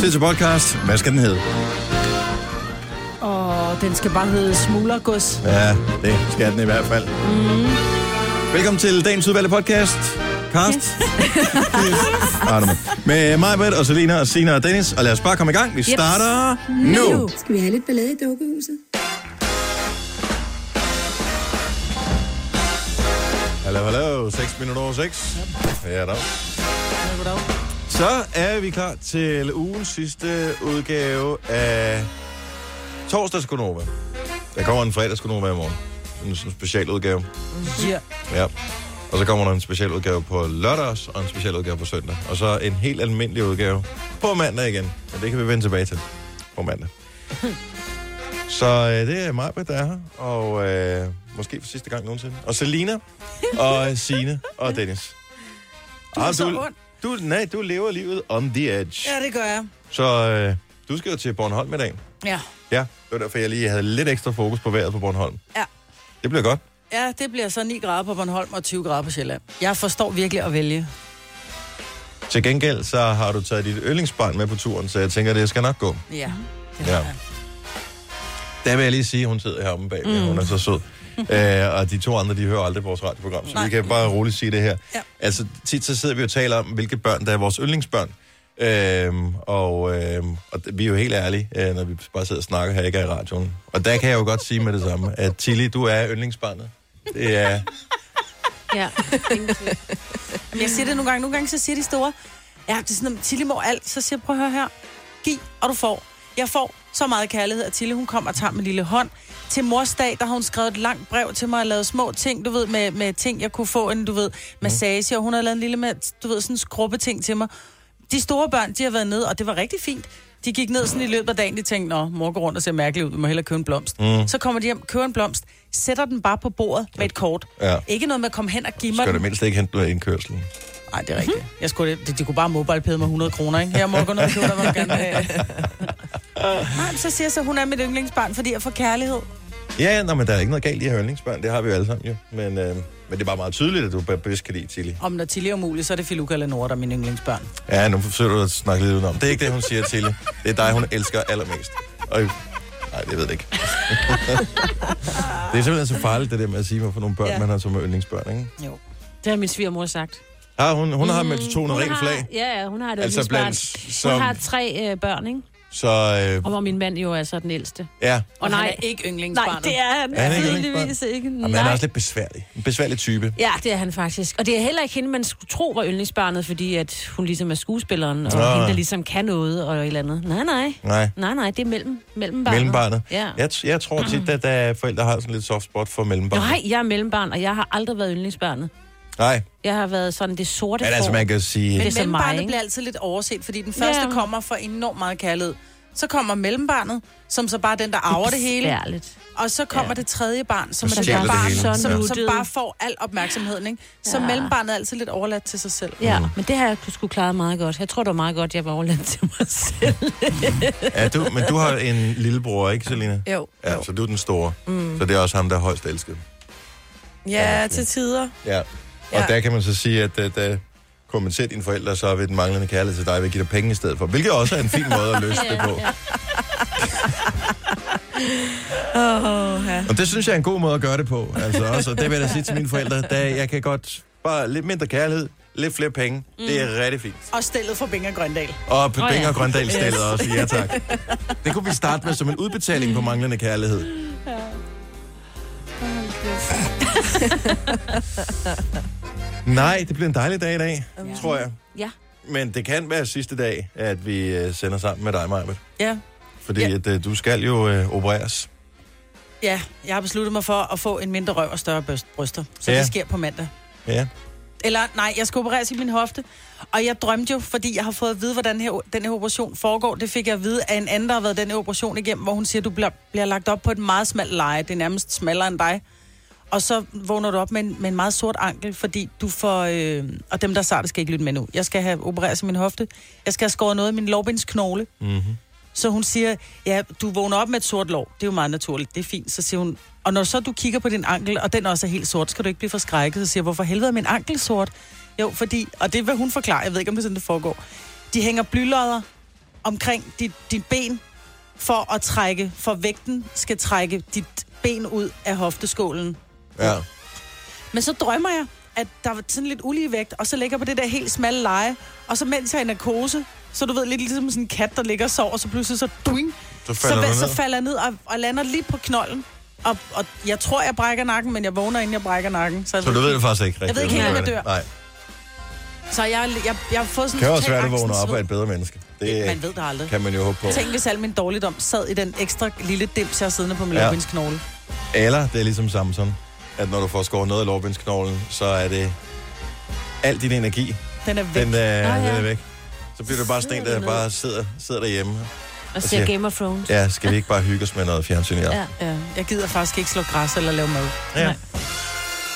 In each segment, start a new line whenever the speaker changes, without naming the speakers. Tid til podcast. Hvad skal den hedde?
Og den skal bare hedde Smuglergods.
Ja, det skal den i hvert fald.
Mm.
Velkommen til dagens udvalgte podcast. Cast. Yes. Med mig, Britt, og Selina, og Sina og Dennis. Og lad os bare komme i gang. Vi starter nu.
Skal vi have lidt ballade i dukkehuset?
Hallo, hallo. 6 minutter over 6. Ja, da.
Goddag.
Så er vi klar til ugens sidste udgave af torsdagskonova. Der kommer en fredagskonova i morgen. En sådan specialudgave.
Ja.
Ja. Og så kommer der en specialudgave på lørdags, og en specialudgave på søndag. Og så en helt almindelig udgave på mandag igen. Men det kan vi vende tilbage til på mandag. Så øh, det er mig, der er her, og øh, måske for sidste gang nogensinde. Og Selina, og Sine og Dennis.
Du er
Ah,
så ond.
du, nej, du lever livet on the edge.
Ja, det gør jeg.
Så øh, du skal jo til Bornholm i dag.
Ja.
Ja, det var derfor, jeg lige havde lidt ekstra fokus på vejret på Bornholm.
Ja.
Det bliver godt.
Ja, det bliver så 9 grader på Bornholm og 20 grader på Sjælland. Jeg forstår virkelig at vælge.
Til gengæld så har du taget dit yndlingsbarn med på turen, så jeg tænker, det skal nok gå.
Ja.
Ja. Der vil jeg lige sige, at hun sidder heromme bag mm.
Mm.
hun er så sød. Æ, og de to andre, de hører aldrig vores radioprogram, så Nej.
Nej.
vi kan bare roligt sige det her.
Ja.
Altså, tit så sidder vi og taler om, hvilke børn, der er vores yndlingsbørn. Øhm, og, øhm, og d- vi er jo helt ærlige, øh, når vi bare sidder og snakker her, ikke er i radioen. Og der kan jeg jo godt sige med det samme, at Tilly, du er yndlingsbarnet. Det er,
Ja. Men jeg siger det nogle gange. Nogle gange så siger de store, ja, det er sådan, at Tilly må alt. Så siger jeg, prøv at høre her. Giv, og du får. Jeg får så meget kærlighed, at Tilly, hun kommer og tager min lille hånd. Til mors dag, der har hun skrevet et langt brev til mig og lavet små ting, du ved, med, med ting, jeg kunne få en, du ved, massage. Og hun har lavet en lille, med, du ved, sådan skrubbe ting til mig. De store børn, de har været nede, og det var rigtig fint. De gik ned sådan i løbet af dagen, de tænkte, nå, mor går rundt og ser mærkelig ud, vi må hellere købe en blomst.
Mm.
Mm. Så kommer de hjem, køber en blomst, sætter den bare på bordet med et kort.
ja,
Ikke noget med at komme hen og give mig
skal
den.
du mindst ikke hente noget indkørsel.
Nej, det er rigtigt. Mhm. Jeg skulle, de, de kunne bare mobile med 100 kroner, ikke? Her må jeg gå ned og købe dig, hvad du gerne vil have. Nej, men så siger jeg så, hun er mit yndlingsbarn, fordi jeg får kærlighed.
Ja, nå, men der er ikke noget galt i at have yndlingsbørn, det har vi jo alle sammen jo. Men, øh, men det er bare meget tydeligt, at du bare bedst kan lide Tilly.
Om når Tilly er umulig, så er det Filuka eller Nora, der er mine yndlingsbørn.
Ja, nu forsøger du at snakke lidt udenom. Det er ikke det, hun siger til Det er dig, hun elsker allermest. Og... Nej, det ved jeg ikke. det er simpelthen så farligt, det der med at sige, hvorfor nogle børn ja.
Ja.
man har som yndlingsbørn, ikke?
Jo.
Det har min svigermor sagt.
Har hun, hun har med 200 rent
har,
flag,
Ja, ja, hun har et
Altså
altså
blandt
blandt,
som-
som... Hun har tre øh, børn, ikke?
så øh,
Og hvor min mand jo er så den ældste.
ja.
Og
han
nej,
er ikke yndlingsbarnet.
nej, det er han,
Er han ikke
tydeligvis ikke.
Jamen, han er
Nej.
også lidt besværlig. En besværlig type.
Ja, det er han faktisk. Og det er heller ikke hende, man skulle tro var yndlingsbarnet, fordi at hun ligesom er skuespilleren, og
Nå.
hende, der ligesom kan noget og et eller andet. Nej, nej.
Nej,
Nej, nej, det er mellem, mellembarnet.
mellembarnet.
Ja.
Jeg, t- jeg tror tit, at der forældre har sådan lidt soft spot for mellembarnet.
Nej, jeg er mellembarn, og jeg har aldrig været yndlingsbarnet.
Nej,
Jeg har været sådan det sorte
men altså
får.
man kan sige...
Men
Det er så
mellembarnet
mig, ikke?
bliver altid lidt overset, fordi den første
Ja.
kommer for enormt meget kærlighed. Så kommer mellembarnet, som så bare er den, der arver det hele.
Ærligt.
Og så kommer ja. det tredje barn, som er
Så
det
stjæler
der
det
barn,
hele.
som,
Ja.
som, som bare får al opmærksomheden. Ikke? Så
Ja.
mellembarnet er altid lidt overladt til sig selv.
Ja, men det har jeg sgu klaret meget godt. Jeg tror, det var meget godt, jeg var overladt til mig selv.
Ja, du, men du har en lillebror, ikke, Selina?
Jo.
Ja, så du er den store. Mm. Så det er også ham, der er højst elsket.
Ja, til tider.
Ja. Og ja.
Ja.
der kan man så sige, at uh, der kompenserer dine forældre så ved den manglende kærlighed til dig ved at give dig penge i stedet for. Hvilket også er en fin måde at løse det på.
Åh, ja.
Og det synes jeg er en god måde at gøre det på. Altså også, og det vil jeg da sige til mine forældre, da jeg kan godt bare lidt mindre kærlighed, lidt flere penge. Mm. Det er rigtig fint.
Og stillet for Binger Grøndal.
Og
Åh,
Binger
ja.
og Grøndal stillet også. Ja, tak. Det kunne vi starte med som en udbetaling på manglende kærlighed. Nej, det bliver en dejlig dag i dag, ja. tror jeg.
Ja.
Men det kan være sidste dag, at vi øh, sender sammen med dig, Majbet.
Ja.
Fordi ja.
Ja.
at, øh, du skal jo øh, opereres.
Ja, jeg har besluttet mig for at få en mindre røv og større bryst- bryster. Så
Ja.
det sker på mandag.
Ja.
Eller nej, jeg skal opereres i min hofte. Og jeg drømte jo, fordi jeg har fået at vide, hvordan her, den her operation foregår. Det fik jeg at vide af en anden, der har været den her operation igennem, hvor hun siger, du bliver, bliver lagt op på et meget smalt leje. Det er nærmest smallere end dig. Og så vågner du op med en, med en meget sort ankel, fordi du får... Øh, og dem, der er sarte, skal ikke lytte med nu. Jeg skal have opereret i min hofte. Jeg skal have skåret noget af min lårbensknogle.
Mm-hmm.
Så hun siger, ja, du vågner op med et sort lår. Det er jo meget naturligt, det er fint. Så siger hun, og når så du kigger på din ankel, og den også er helt sort, skal du ikke blive forskrækket. Så siger jeg, hvorfor helvede er min ankel sort? Jo, fordi, og det vil hun forklare, jeg ved ikke, om det er sådan, det foregår. De hænger blylodder omkring dit, dit ben, for at trække, for vægten skal trække dit ben ud af hofteskålen.
Ja.
Men så drømmer jeg, at der var sådan lidt ulige vægt, og så ligger jeg på det der helt smalle leje, og så mens jeg er i narkose, så du ved, lidt ligesom sådan en kat, der ligger og sover, og så pludselig så duing,
Så
så,
falder du
så
ned.
falder jeg ned og, og lander lige på knolden. Og, og jeg tror, jeg brækker nakken, men jeg vågner, inden jeg brækker nakken. Så,
Så du ved det faktisk ikke rigtigt.
ved ikke helt, om jeg
hvordan det
dør.
er. Nej.
så jeg, jeg, jeg har fået sådan
Det kan også
total
være, at du vågner
angstens
op af
sved.
et bedre menneske. Det
Man ved det aldrig.
kan man jo håbe på.
Tænk, hvis al min dårligdom sad i den ekstra lille dims, jeg har siddende på min
Ja.
ja. knogle.
Eller det er ligesom Samson, at når du får skåret noget af lårbindsknoglen, så er det al din energi,
Den er væk.
den
Den er...
er,
Nå,
ah,
ja.
ja. den er væk. Så bliver det bare sådan en,
Sidder
der
dernede.
bare sidder, sidder derhjemme.
Og
siger-
ser Game of Thrones.
Ja, skal vi ikke bare hygge os med noget fjernsyn i aften?
Ja.
Ja, jeg gider faktisk ikke slå græs eller lave mad.
Ja.
Nej.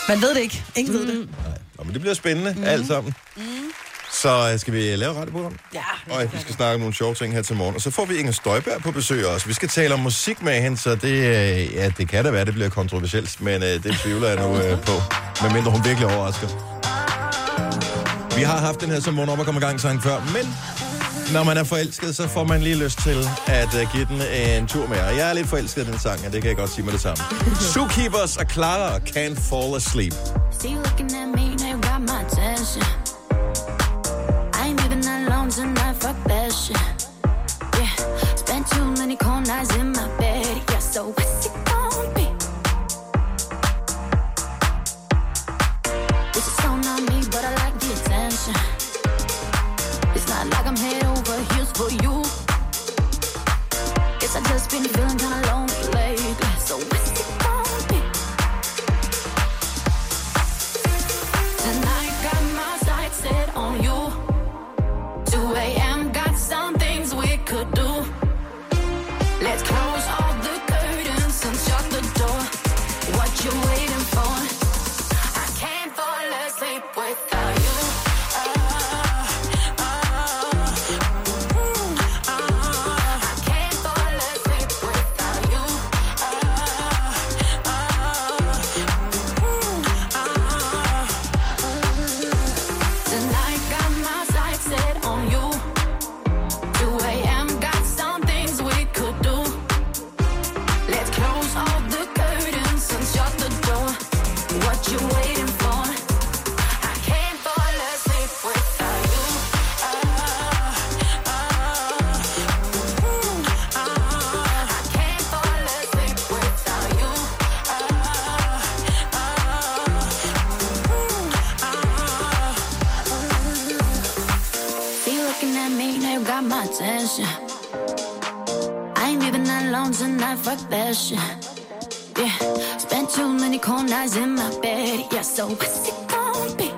Man ved det ikke. Ingen mm. ved det.
Nej. Nå, men det bliver spændende, mm. alt sammen. Mm. Så øh, skal vi lave radioprogram?
Ja.
Og vi skal snakke om nogle sjove ting her til morgen. Og så får vi Inger Støjberg på besøg også. Vi skal tale om musik med hende, så det, øh, ja, det kan da være, det bliver kontroversielt, men øh, det tvivler jeg nu øh, på, medmindre hun virkelig overrasker. Vi har haft den her som morgen op og komme i gang sang før, men når man er forelsket, så får man lige lyst til at øh, give den en tur med. Og jeg er lidt forelsket i den sang, og det kan jeg godt sige med det samme. Zookeepers og Clara og Can't Fall Asleep.
See you looking at me, now you got my attention. I ain't leaving alone tonight, fuck that shit. Yeah, spent too many cold nights in my bed. Yeah, so what's it gonna be? This is so not me, but I like the attention. It's not like I'm head over heels for you. Guess I just been feeling kinda lonely lately. So what's it gonna be? Tonight got my sights set on you. 2 a.m. got some things we could do. Let's close all the curtains and shut the door. What you waiting for? I can't fall asleep without you. Uh, mm, uh, I can't fall asleep without you. Tonight got my sights set on you. 2 a.m. got some things we could do. Let's close all the curtains and shut the door. What you waiting for? I can't fall asleep without you. Uh, mm, uh, I can't fall asleep without you. See you looking at me, now you got my attention. I ain't leaving alone tonight, fuck that shit. Yeah, spent too many cold nights in my bed. Yeah, so what's it gonna be?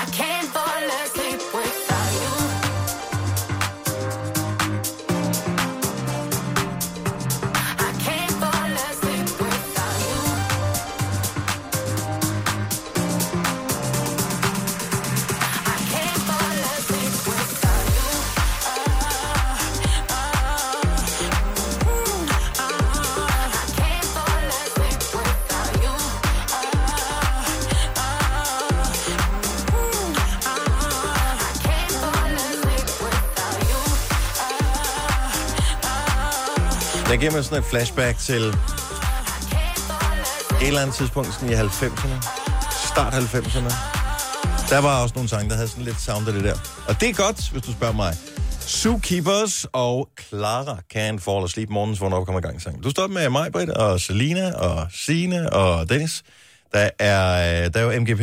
I can't fall asleep without you. I can't fall asleep without you. I can't fall asleep without you. I can't fall asleep without you. I can't fall asleep without you.
Der giver mig sådan et flashback til et eller andet tidspunkt sådan i 90'erne. Start 90'erne. Der var også nogle sange, der havde sådan lidt sound af det der. Og det er godt, hvis du spørger mig. Zookeepers og Clara Can Fall Asleep morgens, hvor hun kommer i gang sang. Du står med mig, Britt, og Selina, og Sine og Dennis. Der er, øh, der er jo MGP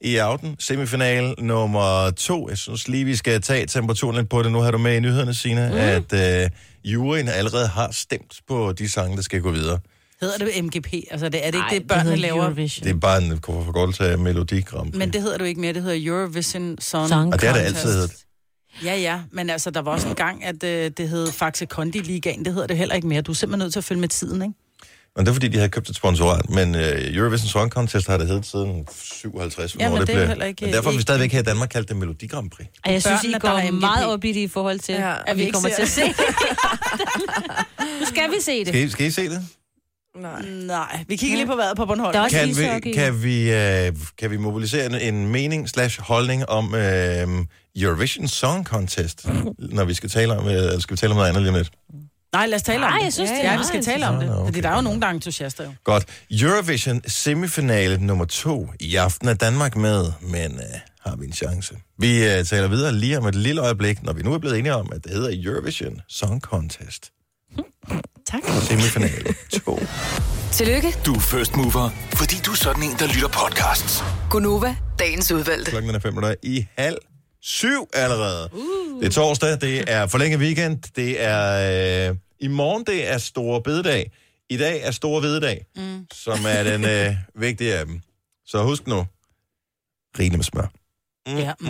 i aften, semifinal nummer to. Jeg synes lige, vi skal tage temperaturen lidt på det. Nu har du med i nyhederne, Sina, mm.
Mhm.
at øh, juryen allerede har stemt på de sange, der skal gå videre.
Hedder det MGP? Altså, det er det ikke
Ej,
det, børnene
hedder
laver?
Eurovision.
Det er bare en forkortelse af Melodi Grand Prix.
Men det hedder du ikke mere. Det hedder Eurovision Song.
Song
Og det har det
Contest.
altid heddet.
Ja, ja. Men altså, der var også en gang, at øh, det hed Faxe Kondi Ligaen. Det hedder det heller ikke mere. Du er simpelthen nødt til at følge med tiden, ikke?
Men det er fordi, de havde købt et sponsorat. Men øh, Eurovision Song Contest har det heddet siden 57.
Ja,
hvor
men det er
blev.
heller ikke- øh,
Men derfor har vi
ikke-
stadigvæk her i Danmark kaldt det Melodi Grand Prix.
Og jeg synes, I
Børnene, der er
går
MGP.
meget op i det i forhold til,
Ja,
ja,
og
at
vi
vi
ikke
kommer
ser
til at se. nu skal vi se det.
Skal I, skal I se det?
Nej.
Nej, vi kigger lige på vejret på Bornholm.
Der er også
Kan
ishockey.
vi, kan, vi, øh, kan vi mobilisere en, en mening slash holdning om øh, Eurovision Song Contest, når vi skal tale om, øh, eller skal vi tale om noget andet lige om lidt?
Nej, lad os tale om
Nej,
det.
jeg synes, det er
ja, vi
meget
skal tale om det.
interessant.
Fordi der er jo nogen, der er entusiaster jo.
Godt. Eurovision semifinale nummer to. I aften er Danmark med, men øh, har vi en chance? Vi øh, taler videre lige om et lille øjeblik, når vi nu er blevet enige om, at det hedder Eurovision Song Contest.
Tak.
Semifinale 2.
Tillykke,
Du er first mover, fordi du er sådan en, der lytter podcasts.
Gunova, dagens udvalgte.
Klokken er fem minutter i halv syv allerede. Uh. Det er torsdag, det er forlænget weekend, det er... Øh, I morgen, det er store bededag. I dag er store vededag, mm. som er den øh, vigtige af dem. Så husk nu, rigeligt med smør.
Ja. Mm,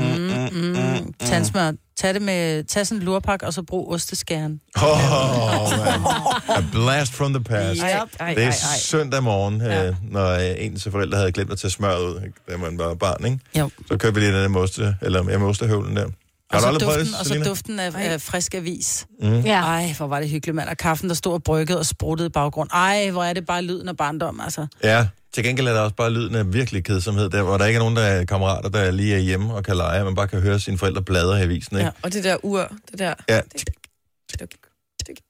mm, mm. Tandsmør. Tag, det med, tag sådan en lurpak, og så brug osteskæren.
Oh, man. A blast from the past.
Ej, ej,
Det
ej,
er
ej.
søndag morgen, øh, når øh, ens forældre havde glemt at tage smør ud, da man var barn, ikke?
Jo.
Så købte vi lige den der moste, eller ja, mostehøvlen der. Har
Og
du
så,
aldrig prøvet
duften,
det,
og så duften af, af frisk avis.
Ja.
Ej, hvor var det hyggeligt, mand. Og kaffen, der stod og brygget og spruttede i baggrund. Ej, hvor er det bare lyden af barndom, altså.
Ja, til gengæld er der også bare lyden af virkelig kedsomhed, der, hvor der ikke er nogen der er kammerater, der lige er hjemme og kan lege, man bare kan høre sine forældre bladre i avisen, ikke?
Ja.
Og det der ur, det der.
Ja.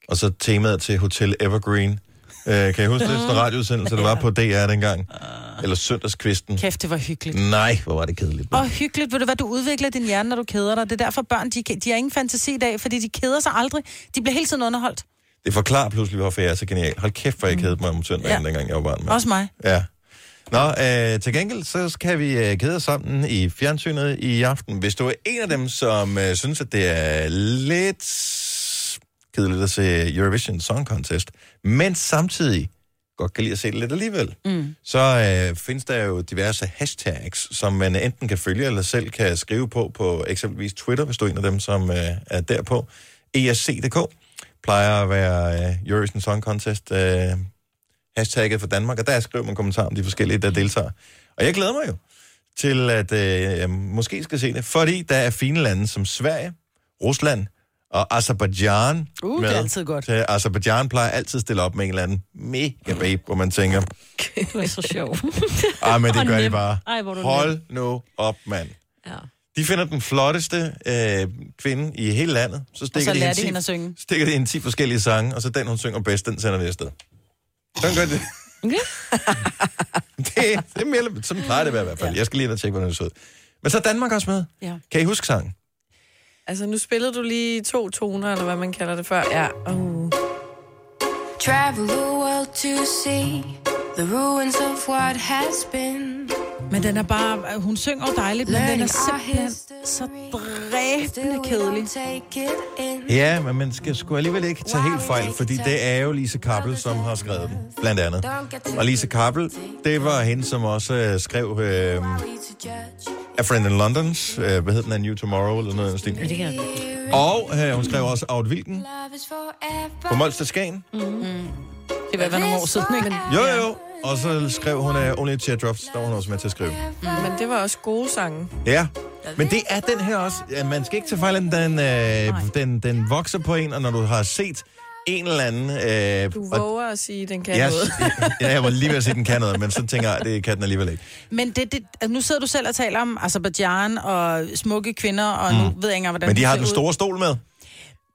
Og så temaet til Hotel Evergreen. Øh, kan I huske det? Sådan en radioudsendelse, der var på DR dengang.
Ah.
Eller søndagskvisten.
Kæft, det var hyggeligt.
Nej, hvor var det kedeligt.
Og hyggeligt, ved du hvad, du udvikler din hjerne, når du keder dig. Det er derfor børn, de, kan- de har ingen fantasi i dag, fordi de keder sig aldrig. De bliver hele tiden underholdt.
Det forklarer pludselig, hvorfor jeg er så genial. Hold kæft, hvor jeg kædede mig om søndagen,
Ja.
dengang jeg var barn. mand.
Også mig.
Ja. Nå, øh, til gengæld så kan vi øh, kede os sammen i fjernsynet i aften. Hvis du er en af dem, som øh, synes, at det er lidt kedeligt at se Eurovision Song Contest, men samtidig godt kan lide at se det lidt alligevel, mm. så øh, findes der jo diverse hashtags, som man enten kan følge eller selv kan skrive på på eksempelvis Twitter, hvis du er en af dem, som øh, er derpå. E ESC.dk plejer at være øh, Eurovision Song Contest øh, hashtagget for Danmark, og der skriver man kommentarer om de forskellige, der deltager. Og jeg glæder mig jo til, at øh, jeg måske skal se det, fordi der er fine lande som Sverige, Rusland og Azerbaijan
Uh, det er altid godt.
Så Azerbaijan plejer altid at stille op med en eller anden mega babe, hvor man tænker,
Du er så sjov.
ah, men
Og
det gør de
nem.
bare.
Ej, hvor er du nem.
Hold nu op, mand.
Ja.
De finder den flotteste øh, kvinde i hele landet, så stikker,
så lærer
de, hende
de hende at synge.
stikker de hende 10 forskellige sange, og så den, hun synger bedst, den sender vi afsted. Sådan gør det.
Okay.
det, det er mere, eller- sådan plejer det at være i hvert fald. Jeg skal lige ind og tjekke, hvordan det ser ud. Men så er Danmark også med.
Ja.
Kan I huske sangen?
Altså, nu spillede du lige to toner, eller hvad man kalder det før. Ja. Uh.
Travel the world to see the ruins of what has been.
Men den er bare, hun synger jo dejligt, men den er simpelthen så dræbende kedelig.
Ja, men man skal sgu alligevel ikke tage helt fejl, fordi det er jo Lise Kappel, som har skrevet den, blandt andet. Og Lise Kappel, det var hende, som også øh, skrev øh, A Friend in Londons, øh, hvad hed den, A New Tomorrow, eller noget af den stil.
Det kan
Og øh, hun skrev også Out Vilken på
På
Molster Skagen.
Det vil være nogle år siden, ikke?
Jo, jo. Og så skrev hun øh, Only Teardrops, der var hun også med til at skrive.
Mm.
Men det var også gode sange.
Ja, men det er den her også. Ja, Man skal ikke tage fejl af den. Den, øh, den, den vokser på en, og når du har set en eller anden... Øh,
Du
og-
våger at sige, den kan
Ja,
noget.
ja, jeg var lige ved at sige, den kan noget, men så tænker jeg, det kan den alligevel ikke.
Men det, det, altså, nu sidder du selv og taler om Azerbaijan og smukke kvinder, og nu ved jeg ikke engang, hvordan
Mm. Men de
hun
har
ser
den
ud.
store stol med.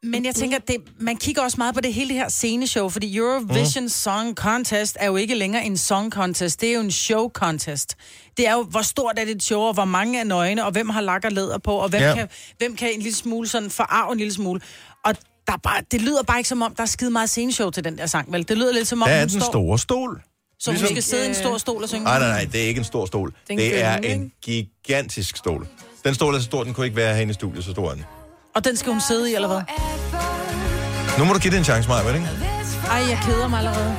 Men
Mhm.
jeg tænker, det, man kigger også meget på det hele det her sceneshow, fordi
Mhm.
Eurovision Song Contest er jo ikke længere en song contest, det er jo en show contest. Det er jo, hvor stort er dit show, og hvor mange er nøgne, og hvem har lak og læder på, og hvem,
Ja.
ja. kan, hvem kan en lille smule sådan forarve en lille smule. Og der er bare, det lyder bare ikke som om, der er skide meget sceneshow til den der sang, vel? Det lyder lidt som om,
Der er
hun
den
står,
store stol.
så hun
ligesom-
skal sidde i en stor stol og synge.
Nej, nej, nej, det er ikke en stor stol.
er en
Det er
gynge,
en gigantisk stol. Den stol er så stor, den kunne ikke være herinde i studiet, så stor er den.
Og den skal hun sidde i, eller hvad?
Nu må du give det en chance, Maja, ikke?
Ej, jeg keder mig allerede.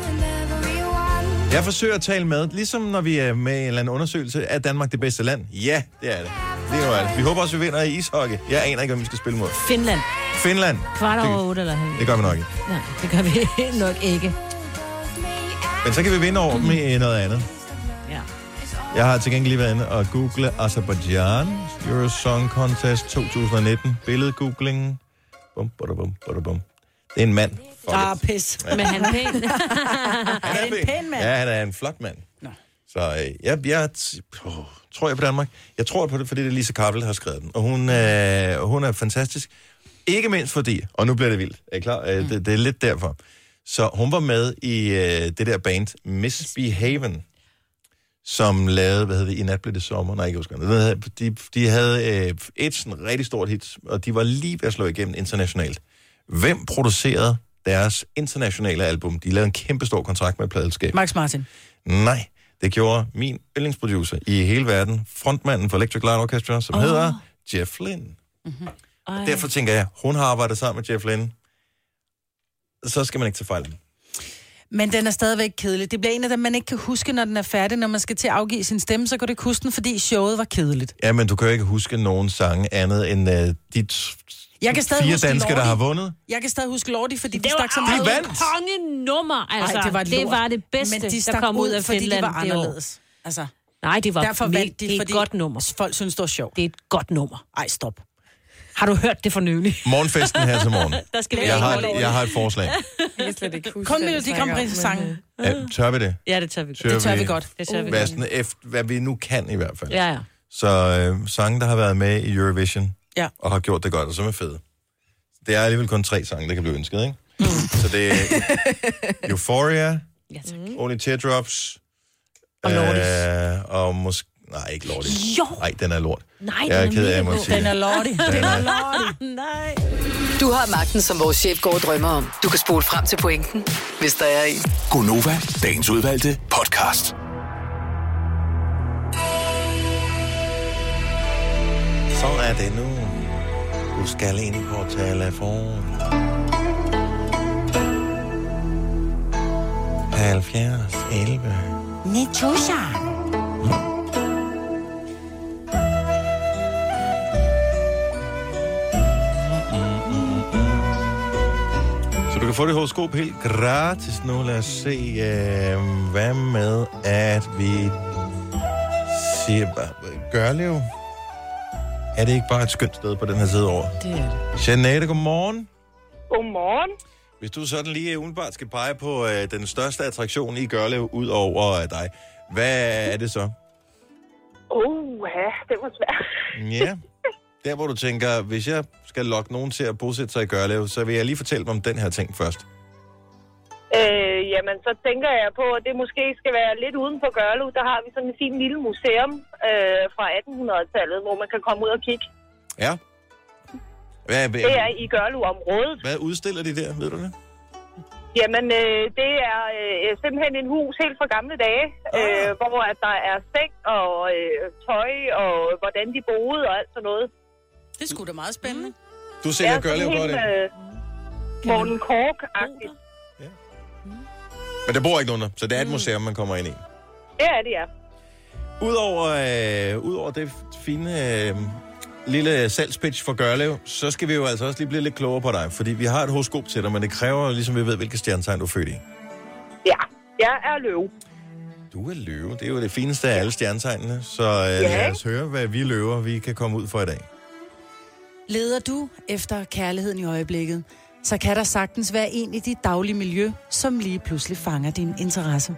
Jeg forsøger at tale med, ligesom når vi er med i en eller anden undersøgelse, er Danmark det bedste land? Ja, det er det. Det er det. Vi håber også, vi vinder i ishockey. Jeg aner ikke, hvem vi skal spille mod.
Finland.
Finland.
Kvart over
Det-
otte eller halv.
Det gør vi nok ikke.
Nej, det gør vi nok ikke.
Men så kan vi vinde over dem i noget andet.
Ja.
Jeg har til gengæld lige været inde og google Azerbaijan Eurosong Contest 2019. Billedgooglingen. Bum, bada, bum, bada, bum. Det er en mand. Fuck
Ah,
it.
pis. Ja.
Men han er pæn.
Han
er det en pæn mand?
Ja, han er en flot mand.
Nå.
Så øh, jeg, jeg t- åh, tror jeg på Danmark. Jeg tror på det, fordi det er Lisa Kappel, der har skrevet den. Og hun, øh, og hun er fantastisk. Ikke mindst fordi, og nu bliver det vildt, er I klar?
Mm.
Øh, det, det er lidt derfor. Så hun var med i øh, det der band Misbehaven, som lavede, hvad hedder det, I nat blev det sommer, nej, ikke husker det. Den havde- De, de havde øh, et sådan rigtig stort hit, og de var lige ved at slå igennem internationalt. Hvem producerede deres internationale album? De lavede en kæmpe stor kontrakt med et pladeselskab.
Max Martin.
Nej, det gjorde min yndlingsproducer i hele verden, frontmanden for Electric Light Orchestra, som oh. hedder Jeff Lynne. Mm-hmm.
Mhm.
Ej.
Derfor tænker jeg, hun har arbejdet sammen med Jeff Lynne. Så skal man ikke tage fejl. af dem.
Men den er stadigvæk kedelig. Det bliver en af dem, man ikke kan huske, når den er færdig. Når man skal til at afgive sin stemme, så kan du ikke huske den, fordi showet var kedeligt.
Ja, men du kan jo ikke huske nogen sange andet end uh, de t-
Jeg kan stadig
fire
huske
danskere, der
Lordi.
har vundet.
Jeg kan stadig huske Lordi, fordi
Det
de
var
stak så
aldrig
meget
De vandt.
et kongenummer, altså.
Ej,
det, var
et
det
lort.
var det bedste,
Men de
der
stak
kom ud af
fordi
Finland.
de var
det år.
anderledes. Altså,
Nej, det var
derfor vandt de,
det er
fordi
et godt nummer.
folk synes, det var sjovt.
Det er et godt nummer.
Ej, stop.
Har du hørt det for nylig?
Morgenfesten her til morgen.
Der skal vi
Jeg
ikke
har,
holde over
jeg har et forslag.
Jeg kan slet ikke huske,
Kun
hvad
Melodi
vi
Grand
snakker om,
Prix
men,
sangen.
øh,
Ja, tør vi det?
Ja, det tør vi godt.
Tør
Det tør vi godt.
Det tør vi
Hvad,
godt.
sådan, efter, hvad vi nu kan i hvert fald.
Ja, ja.
Så øh, sange, der har været med i Eurovision,
Ja.
og har gjort det godt, og som er fede. Det er alligevel kun tre sange, der kan blive ønsket, ikke? Så det er Euphoria,
Mm. ja tak.
Only Teardrops,
Og Lordis.
øh, og måske... Nej, ikke Lordis.
Jo!
Nej, den er lort.
Nej,
Jeg er
den
ked af,
mega
jeg må
god.
sige.
Den er Lordi. Den er Lordi.
Nej.
Du har magten, som vores chef går og drømmer om. Du kan spole frem til pointen, hvis der er en.
Gonova, dagens udvalgte podcast.
Så er det nu. Du skal ind på telefon. 70, 11. Så du kan få det horoskop helt gratis nu. Lad os se, øh, hvad med, at vi siger, hva- Gørlev, er det ikke bare et skønt sted på den her side over? Det er det. Jeanette, godmorgen.
Godmorgen.
Hvis du sådan lige umiddelbart skal pege på øh, den største attraktion i Gørlev, ud over øh, dig, hvad er det så?
Uh, ja, det var svært.
Ja, der hvor du tænker, hvis jeg skal lokke nogen til at bosætte sig i Gørlev, så vil jeg lige fortælle dem om den her ting først.
Øh, jamen, så tænker jeg på, at det måske skal være lidt uden for Gørlev. Der har vi sådan et fint lille museum øh, fra 1800-tallet, hvor man kan komme ud og kigge.
Ja. Hvad, hvad,
Det er i Gørlev-området.
Hvad udstiller de der, ved du det?
Jamen, øh, det er øh, simpelthen en hus helt fra gamle dage, øh, hvor at der er seng og øh, tøj og hvordan de boede og alt sådan noget.
Det skulle da meget spændende.
Du sælger ja,
sådan
Gørlev godt ind.
øh, Morten Kork-agtigt.
Men der bor ikke nogen der, så det er
Mm.
et museum, man kommer ind i.
Det er det, ja.
Udover, øh, udover det fine øh, lille salgspitch for Gørlev, så skal vi jo altså også lige blive lidt klogere på dig. Fordi vi har et horoskop til dig, men det kræver, ligesom vi ved, hvilket stjernetegn du er født i.
Ja, jeg er løv.
Du er løve. Det er jo det fineste af alle stjernetegnene. Så øh,
Ja.
lad os høre, hvad vi løver, vi kan komme ud for i dag.
Leder du efter kærligheden i øjeblikket, så kan der sagtens være en i dit daglige miljø, som lige pludselig fanger din interesse.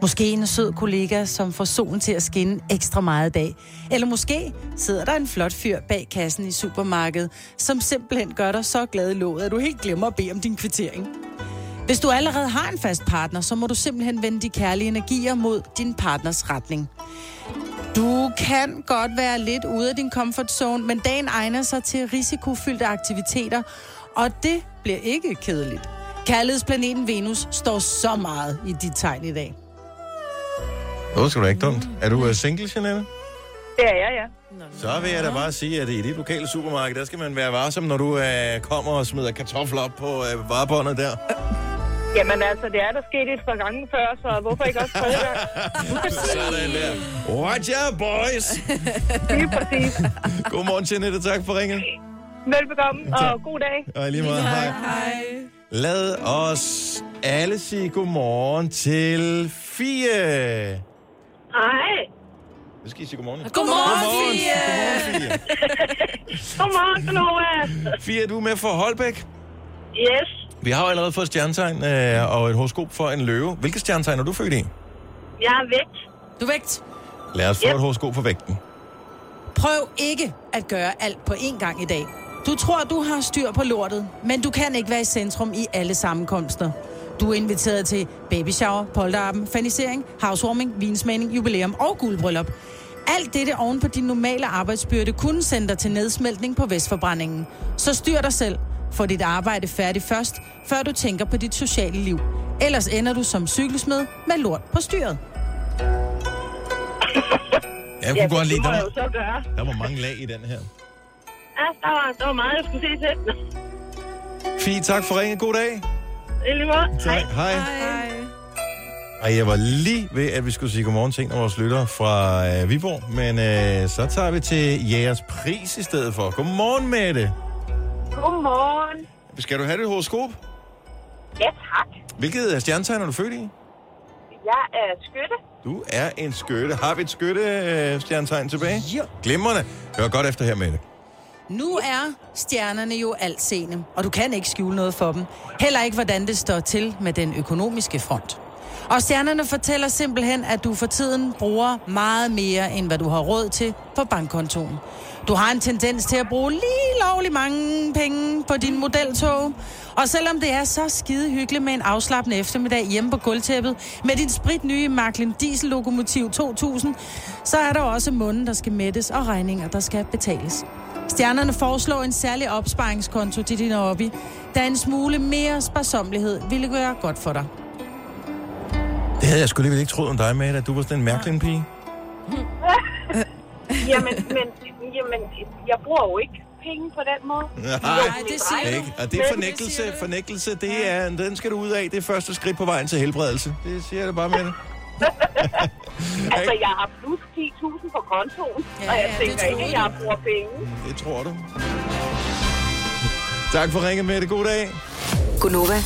Måske en sød kollega, som får solen til at skinne ekstra meget i dag. Eller måske sidder der en flot fyr bag kassen i supermarkedet, som simpelthen gør dig så glad i låget, at du helt glemmer at bede om din kvittering. Hvis du allerede har en fast partner, så må du simpelthen vende de kærlige energier mod din partners retning. Du kan godt være lidt ude af din comfort zone, men dagen egner sig til risikofyldte aktiviteter, og det bliver ikke kedeligt. Kærlighedsplaneten Venus står så meget i dit tegn i dag.
Nå, skal du ikke dumt. Er du øh, single, Jeanette?
Det er jeg, ja.
Så vil jeg da bare sige, at i det lokale supermarked, der skal man være varsom, når du øh, kommer og smider kartofler op på øh, varebåndet der.
Jamen altså, det er der sket et par gange før, så hvorfor ikke også tredje gang?
Sådan der. Roger, boys!
Lige præcis.
Godmorgen, Jeanette. Tak for ringet.
Velbekomme, og god dag.
Og i lige meget, hej. hej. Lad os alle sige godmorgen til Fie.
Hej.
Nu skal I sige godmorgen.
Godmorgen, Fie!
Godmorgen, Fie.
Godmorgen, Nova.
Fie, er du med fra Holbæk?
Yes.
Vi har jo allerede fået stjernetegn øh, og et horoskop for en løve. Hvilket stjernetegn er du født i?
Jeg er væk.
Du er vægt.
Lad os få
Yep.
et horoskop for vægten.
Prøv ikke at gøre alt på én gang i dag. Du tror, du har styr på lortet, men du kan ikke være i centrum i alle sammenkomster. Du er inviteret til baby shower, polterappen, fanisering, housewarming, vinsmagning, jubilæum og guldbryllup. Alt dette oven på din normale arbejdsbyrde kunne sende dig til nedsmeltning på Vestforbrændingen. Så styr dig selv. Få dit arbejde færdigt først, før du tænker på dit sociale liv. Ellers ender du som cykelsmed med lort på styret.
Jeg
Ja,
kunne godt
det
lide,
må
der
jeg jo
var,
så gøre.
der var mange lag i den her.
Ja, der var, der var meget, jeg skulle se til.
Fie, tak for ringen. God dag.
I lige måde. Hej.
Hej.
Hej.
Og jeg var lige ved, at vi skulle sige godmorgen til en af vores lyttere fra øh, Viborg, men øh, så tager vi til Jægers Pris i stedet for. Godmorgen, Mette.
Godmorgen.
Skal du have dit horoskop?
Ja, tak.
Hvilket øh, stjernetegn er du født i?
Jeg er skytte.
Du er en skøtte. Har vi et skøtte-stjernetegn tilbage?
Ja.
Glimrende. Hør godt efter her, Mette.
Nu er stjernerne jo altseende, og du kan ikke skjule noget for dem. Heller ikke, hvordan det står til med den økonomiske front. Og stjernerne fortæller simpelthen, at du for tiden bruger meget mere, end hvad du har råd til på bankkontoen. Du har en tendens til at bruge lige lovlig mange penge på din modeltog. Og selvom det er så skide hyggeligt med en afslappende eftermiddag hjemme på gulvtæppet med din spritnye Macklin Diesel-lokomotiv 2000, så er der også munden, der skal mættes og regninger, der skal betales. Stjernerne foreslår en særlig opsparingskonto til din hobby, da en smule mere sparsommelighed ville gøre godt for dig.
Det havde jeg sgu alligevel ikke troet om dig, Mette, at du var sådan en mærkelig pige.
Jamen, men, jamen, jeg bruger jo ikke penge på den måde.
Nej,
det siger du.
Ikke? Og det er
Men-
fornægtelse. Fornægtelse, det er, den skal du ud af. Det er første skridt på vejen til helbredelse. Det siger jeg da bare, Mette.
Altså, jeg har plus 10.000 på kontoen,
Ja,
og jeg
ja, det
tænker
troede
ikke, at
du.
jeg bruger penge.
Det tror du. Tak for ringet, Mette. God dag.
Gunova,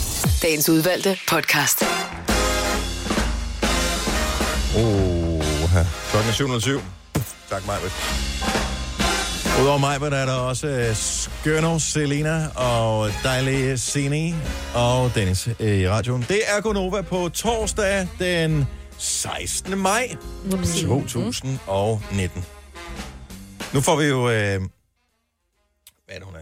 dagens udvalgte podcast.
Oh, Klokken er 707. Tak, Majbet. Udover Majbet er der også øh, Skønner, Selena og dejlige Sini og Dennis øh, i radioen. Det er Gonova på torsdag den 16. maj 2019. Nu får vi jo... Øh, hvad er det, hun er?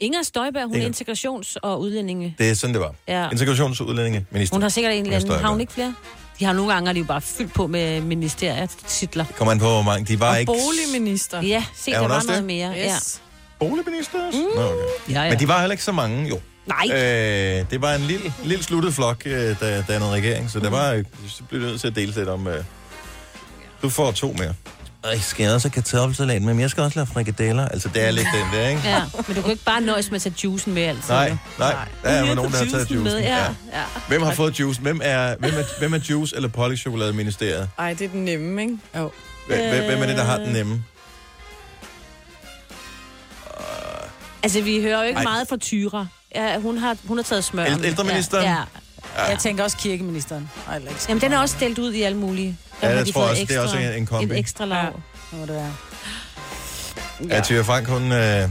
Inger Støjberg, hun
Inger.
er integrations- og udlændinge.
Det er sådan, det var.
Ja.
Integrations- og udlændingeminister.
Hun har sikkert en eller anden.
Støjberg.
Har hun ikke flere? De har nogle gange, er de jo bare fyldt på med ministertitler.
Kommer an på, hvor mange... De var
Og
ikke...
boligminister.
Ja, se,
Er
der
hun
var
også
noget
det?
mere. Ja.
Yes.
Boligminister? Mm. Nå, okay.
Ja, ja.
Men de var heller ikke så mange, jo.
Nej,
Øh, det var en lille, lille sluttet flok, øh, der dannede regering, så der var,
Mhm.
øh, så blev det nødt til at dele lidt om... Øh, du får to mere. Ej, skal jeg også have kartoffelsalat med, men jeg skal også lave frikadeller. Altså, det er lidt den der, ikke?
ja. men du kan ikke bare nøjes med at tage juicen med altid.
Nej,
jo.
nej. Der er jo nogen, der har taget
Juicen
juicen.
med, ja, ja.
Hvem har fået juice? Hvem er, hvem er, hvem er juice eller polychokoladeministeriet?
Ej, det er den nemme, ikke? Jo.
Hvem, øh... hvem er det, der har den nemme?
Altså, vi hører jo ikke
Nej.
Ej. meget fra Tyra. Ja, hun, har, hun har taget smør.
Æl- ældreministeren?
Ja, ja.
Jeg tænker også kirkeministeren. Ej, eller ikke.
Jamen, den er også delt ud i alle mulige. Der
Ja,
har
jeg
de
tror
fået
også, det er også en- en kombi.
Et ekstra lav.
Nu må det være.
Ja. At Tyre Frank, hun... Øh,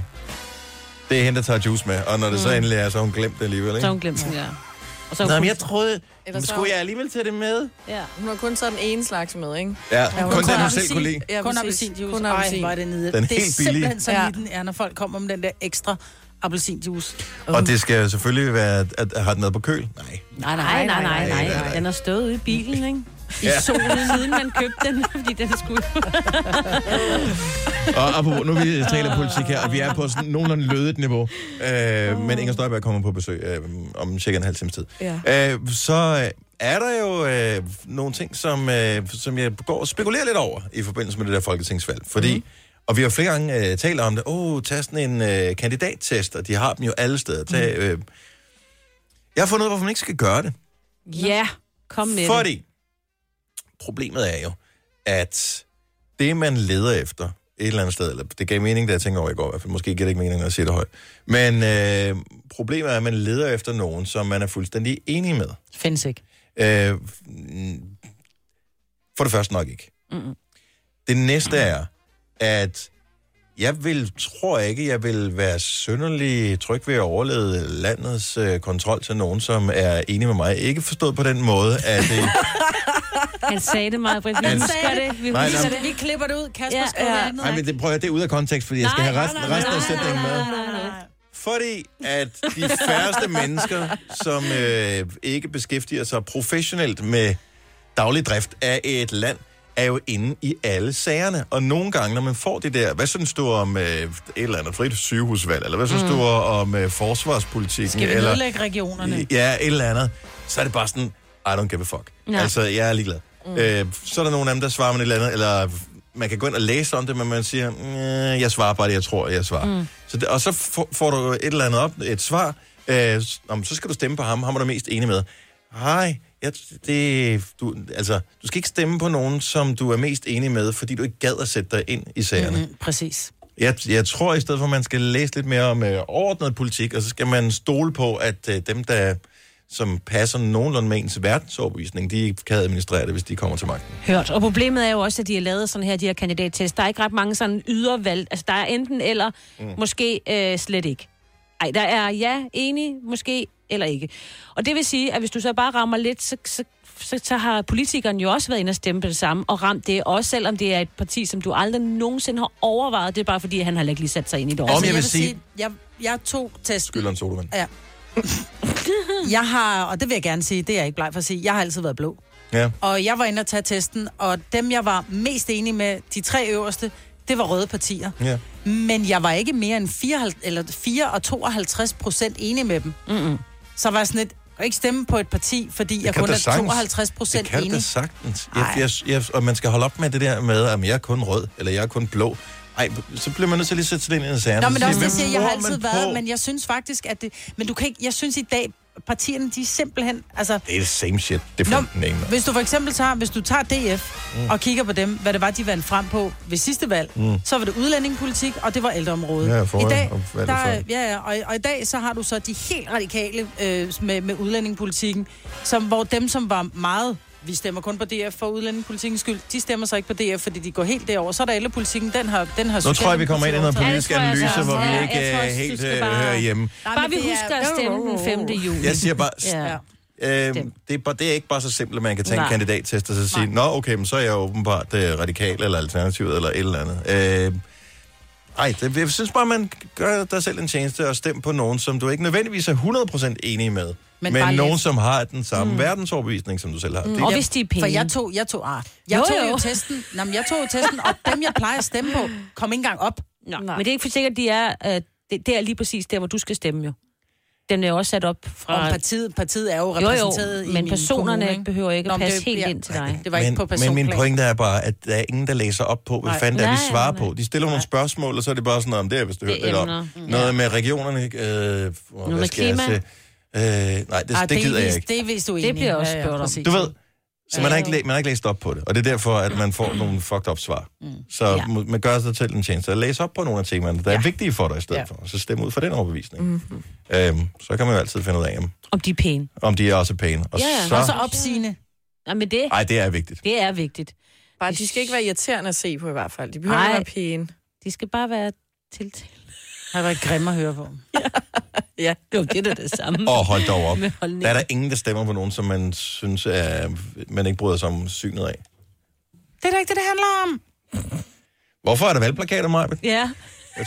det er hende, der tager juice med. Og når det mm. så endelig er, så har hun glemt det alligevel,
Så
ikke?
har hun glemt den, ja. Og så har
Nå,
hun
men jeg troede...
Ellers så-
Skulle jeg alligevel tage det med?
Ja.
Hun har kun taget den ene slags med, ikke?
Ja,
hun
kun
tror,
den, du
jeg
selv
vil
kunne
sige-
lide.
Ja,
Kun
præcis.
appelsinjuice.
Kun
Ej,
appelsin.
hvor er det nede.
Den
det er
helt billige.
simpelthen så
Ja.
ja. den er, når folk kommer med den der ekstra appelsinjuice.
Og det skal selvfølgelig være, at, at har den været på køl? Nej.
Nej, nej, nej, nej,
nej, nej, nej.
nej. Den har stået ude i bilen, ikke? I
Ja.
ja. solen, siden man købte den, fordi den skulle...
Og apropos, nu vi taler politik her, og vi er på sådan nogenlunde lødet niveau. Øh, men Inger Støjberg kommer på besøg øh, om cirka en halv times tid. Ja. Øh, så øh, er der jo øh, nogle ting, som, øh, som jeg går og spekulerer lidt over i forbindelse med det der folketingsvalg. Fordi, mm og vi har flere gange øh, talt om det, åh, oh, tag sådan en øh, kandidattest, og de har dem jo alle steder. Tag, øh, jeg har fundet ud af, hvorfor man ikke skal gøre det.
ja, kom med det.
Fordi problemet er jo, at det, man leder efter et eller andet sted, eller det gav mening, da jeg tænkte over i går, i hvert fald. måske giver det ikke mening, når jeg siger det højt, men øh, problemet er, at man leder efter nogen, som man er fuldstændig enig med.
Findes ikke.
Øh, mm, for det første nok ikke. Mm-mm. Det næste er, at Jeg vil, tror ikke, jeg vil være synderlig tryg ved at overlede landets øh, kontrol til nogen, som er enige med mig. Ikke forstået på den måde, at det...
Han sagde det meget, Britt. Vi
Han
husker
sagde
det. Vi
Nej,
husker
nej.
det.
Vi klipper det ud. Kasper
Ja,
ja, skriver
ja.
ja. andet.
Nej, men det prøver jeg, det er ude af kontekst, fordi jeg skal have resten, resten af sætningen med.
nej.
Fordi at de færreste mennesker, som øh, ikke beskæftiger sig professionelt med daglig drift af et land, er jo inde i alle sagerne. Og nogle gange, når man får det der, hvad synes du om øh, et eller andet frit sygehusvalg, eller hvad synes mm. du om øh, forsvarspolitikken,
Skal vi
eller
nedlægge regionerne?
Ja, et eller andet. Så er det bare sådan, I don't give a fuck. Ja.
Ja.
Altså, jeg er ligeglad. Mm. Øh, så er der nogle af dem, der svarer med et eller andet, eller man kan gå ind og læse om det, men man siger, "Mm, jeg svarer bare det, jeg tror, jeg svarer. Mm. Så det, og så får- får du et eller andet op, et svar, øh, s- om, så skal du stemme på ham, ham er du mest enig med. Hej, jeg, det, du, altså, du skal ikke stemme på nogen, som du er mest enig med, fordi du ikke gad at sætte dig ind i sagerne.
Mm, præcis.
Jeg, jeg tror i stedet for, at man skal læse lidt mere om øh, overordnet politik, og så skal man stole på, at øh, dem, der som passer nogenlunde med ens verdensoverbevisning, de kan administrere det, hvis de kommer til magten.
Hørt. Og problemet er jo også, at de har lavet sådan her, de her kandidattest. Der er ikke ret mange sådan ydervalg. Altså, der er enten eller, mm. måske øh, slet ikke. Ej, der er ja, enig, måske eller ikke. Og det vil sige, at hvis du så bare rammer lidt, så, så, så, så har politikeren jo også været inde og stemme på det samme, og ramt det, også selvom det er et parti, som du aldrig nogensinde har overvejet. Det er bare fordi, at han har heller ikke lige sat sig ind i det
Om
altså,
jeg vil sige-
jeg, jeg tog testen.
Skylder en sodavand.
Ja. jeg har, og det vil jeg gerne sige, det er jeg ikke bleg for at sige, jeg har altid været blå.
Ja.
Og jeg var inde og tage testen, og dem, jeg var mest enig med, de tre øverste, det var røde partier.
Ja.
Men jeg var ikke mere end 54, eller 4 og 52 procent enig med dem. Mm-mm. Så var jeg sådan lidt, jeg kan ikke stemme på et parti, fordi jeg kun
da
er
sagtens.
52
Det
procent
kan du da
enig.
sagtens. Jeg, jeg, jeg, og man skal holde op med det der med, at jeg er kun rød, eller jeg er kun blå. Ej, så bliver man nødt til lige at sætte sig ind i en særlig.
Nå, men det er også det, jeg siger, jeg har altid været, men jeg synes faktisk, at det... Men du kan ikke... Jeg synes i dag, partierne, de er simpelthen... Altså,
Det er det same shit. Det er
Nå,
fucking ingen.
hvis du for eksempel tager, hvis du tager DF mm. og kigger på dem, hvad det var, de vandt frem på ved sidste valg, mm. så var det udlændingepolitik, og det var ældreområdet.
Ja, forrige
I dag,
og valget
der,
før.
ja, ja, og, og i dag så har du så de helt radikale øh, med, med udlændingepolitikken, som, hvor dem, som var meget vi stemmer kun på DF for udlændingepolitikens skyld. De stemmer så ikke på DF, fordi de går helt derover. Så er der ellepolitikken, den har, den har
Nu tror jeg, vi kommer ind i noget
Socialdemokratiet
politisk
Ja, det tror jeg
analyse,
altså
hvor
også.
vi
Ja,
ikke øh,
jeg tror også, du
helt
skal
øh,
bare-
hører hjemme.
Nej,
Altså,
men
Bare vi
det er-
husker at stemme den 5. juli.
Jeg siger bare,
Ja.
Øh, det, er bare, det er ikke bare så simpelt, at man kan tage Nej. en
Nej.
kandidattest og så sige, nå okay, men så er jeg åbenbart øh, radikal eller alternativet eller et eller andet. Øh, ej, det, jeg synes bare, man gør dig selv en tjeneste og stemme på nogen, som du ikke nødvendigvis er 100% enig med, men,
Men
men
bare
nogen,
lidt.
som har den samme mm. verdensoverbevisning, som du selv har. Mm. Det,
Og hvis de er penge.
For jeg tog, jeg tog, ah, jeg
Jo,
tog
jo.
jo, testen, nej, jeg tog jo testen, og dem, jeg plejer at stemme på, kom ikke engang op.
Nå, men det er ikke for sikkert, at de er, øh, det, det er lige præcis der, hvor du skal stemme jo. Den er jo også sat op fra...
Og partiet, partiet er jo
jo, jo,
repræsenteret i
men
min
personerne
kommune, ikke?
behøver ikke
Nå,
at
men
passe
det-
helt
ja.
ind til dig.
Det var ikke på
men
personplan.
min pointe er bare, at der er ingen, der læser op på, hvad
Nej.
fanden det er, de
Nej,
svarer
nej, nej.
på. De stiller nogle spørgsmål, og så er det bare sådan, om det er, hvis du
Det
hører lidt om.
emner. Mm.
Noget med regionerne. Øh, og
Noget
hvad
med
skal jeg
klima.
se? Øh, nej, det,
Ah,
det gider jeg
er vist-
ikke.
Det er vist du er
Det
enig i.
bliver også
Ja, ja,
spurgt om.
præcis.
Du ved, så man har, ikke, læ- man har ikke læst op på det, og det er derfor, at man får nogle fucked up svar. Så ja.
Mm. Ja.
man gør sig selv en tjeneste at læse op på nogle af temaerne, der ja. er vigtige for dig i stedet ja.
Ja.
for, og så stemme ud for den overbevisning.
Mhm.
Mm-hmm. Øhm, så kan man jo altid finde ud af, om-
Om de er pæne.
om de er også pæne. Og
Ja, ja.
så...
Og så opsigende.
Ja, men det,
Ej, det er vigtigt.
det er vigtigt.
Bare, de skal ikke være irriterende at se på i hvert fald. De behøver
Nej.
ikke være pæne.
De skal bare være til.
Det har været grim at høre på.
Ja.
Jo, det er da det samme.
Og hold dog op.
Med holdning.
Der er der ingen, der stemmer på nogen, som man synes, er, man ikke bryder sig om synet af.
Det er da ikke det, det handler om.
Hvorfor er der valgplakater, Majbet?
Ja,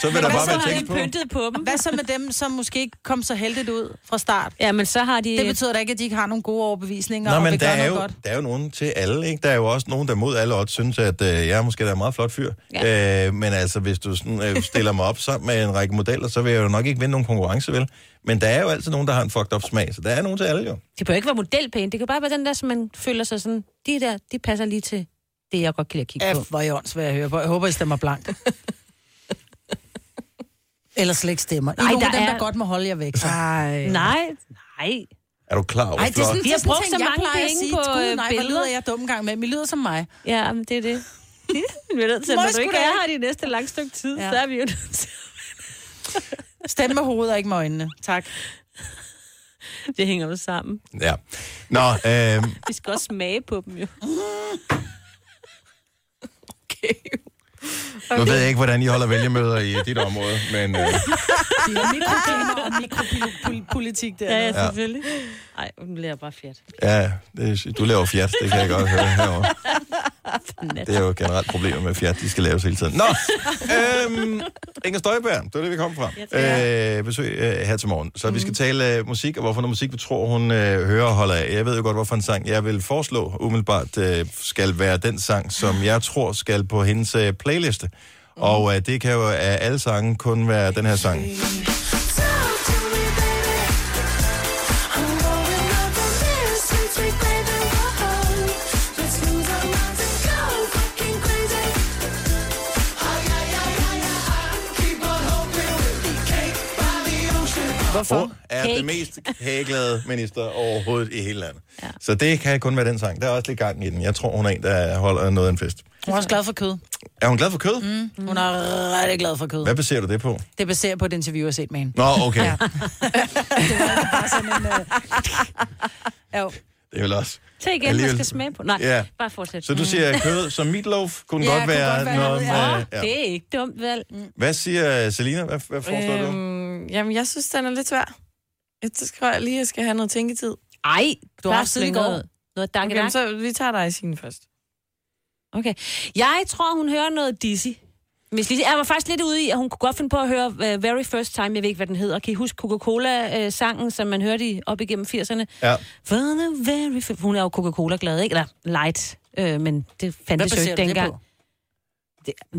Så vil der
og
bare
så
være
har de
tekst på.
pyntet på dem.
Hvad så med dem, som måske ikke kom så heldigt ud fra start?
Ja, men så har de...
Det betyder da ikke, at de ikke har nogle gode overbevisninger,
Nå,
og
men
vil
der
gøre
er,
noget
jo,
godt.
der er jo nogen til alle, ikke? Der er jo også nogen, der mod alle odds synes, at øh, jeg er måske der er en meget flot fyr. Ja. Øh, men altså, hvis du sådan, øh, stiller mig op sammen med en række modeller, så vil jeg jo nok ikke vinde nogen konkurrence, vel? Men der er jo altid nogen, der har en fucked up smag, så der er nogen til alle jo.
Det behøver ikke være modelpæne. Det kan bare være den der, som man føler sig sådan... De der, de passer lige til det, jeg godt kan lide at kigge
Ja,
på.
hvor er I åndssvagt at høre på. Jeg håber, I stemmer blankt. Eller slet ikke stemmer. I er
Ej,
nogle af
der
dem,
er-
der godt må holde jer væk.
Ej.
Nej, nej.
Er du klar over
Ej, det er sådan,
flot?
det
Vi
er
har
sådan
brugt
ting,
så
jeg
mange
plejer at
penge
sige,
på,
"Gud,
øh,
nej, hvor
billeder."
lyder jeg dum gang med. Men I lyder som mig.
Ja, men det er det. Vi er nødt til,
Må
når
jeg
du
sgu
ikke
da
er
ikke.
her de næste lange stykke tid,
Ja.
så er vi jo nødt til...
Stem med hovedet og ikke med øjnene. Tak.
Det hænger jo sammen.
Ja. Nå, øh,
Vi skal også smage på dem jo.
Okay.
Nu ved jeg ikke, hvordan I holder vælgermøder i dit område, men øh,
Det er mikroklima og mikropolitik der.
Ah! Ja, ja, selvfølgelig. Ej, nu bliver jeg bare fjert.
ja, det, du laver fjat, det kan jeg godt høre herovre. Det er jo generelt problemer med fjat, de skal laves hele tiden. Nå, øhm, Inger Støjberg, det var det, vi kom fra. Øh, besøg øh, her til morgen. Så vi skal tale øh, musik, og hvorfor noget musik, vi tror, hun øh, hører og holder af. Jeg ved jo godt, hvorfor en sang, jeg vil foreslå umiddelbart, øh, skal være den sang, som jeg tror skal på hendes øh, playliste. Og øh, det kan jo af alle sange kun være den her sang. Hvorfor? Hun er
Cake.
den mest kageglade minister overhovedet i hele landet. Ja. Så det kan kun være den sang. Der er også lidt gang i den. Jeg tror, hun er en, der holder noget af en fest.
Hun er også glad for kød.
Er hun glad for kød? Mm.
Hun er rigtig glad for kød.
Hvad baserer du det på?
Det baserer på et interview, jeg har set med hende.
Nå, okay. Ja.
Bare sådan en, øh... Jo.
Det er vel også.
Tag igen,
Alligevel.
jeg skal smage på. Nej,
Ja.
ja. bare fortsæt.
Så du siger kød som meatloaf kunne
Ja,
godt
kunne
være
godt være
noget
noget,
med...
ja. Det er ikke dumt, vel?
Hvad siger øh, Selina? Hvad, hvad foreslår øhm. du?
Øhm, jamen, jeg synes, den er lidt svær. Jeg så tror jeg lige, jeg skal have noget tænketid.
Ej,
Du
du
har
har
haft siden i går.
noget. Noget danke,
Okay,
okay,
men så vi tager dig i sin først.
okay. Jeg tror, hun hører noget Dizzy. Miss Lizzy. Jeg var faktisk lidt ude i, at hun kunne godt finde på at høre uh, Very First Time. Jeg ved ikke, hvad den hedder. Kan I huske Coca-Cola-sangen, som man hørte i, op igennem 80'erne?
Ja.
For the very first... Hun er jo Coca-Cola-glad, ikke? Eller light, øh, men det
Hvad
fandtes jo
baserer
ikke
du det
dengang.
på?